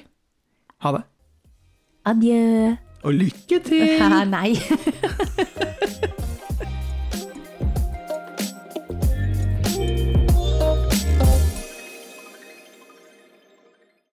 Speaker 2: Ha det.
Speaker 1: Adjø.
Speaker 2: Og lykke til!
Speaker 1: Nei.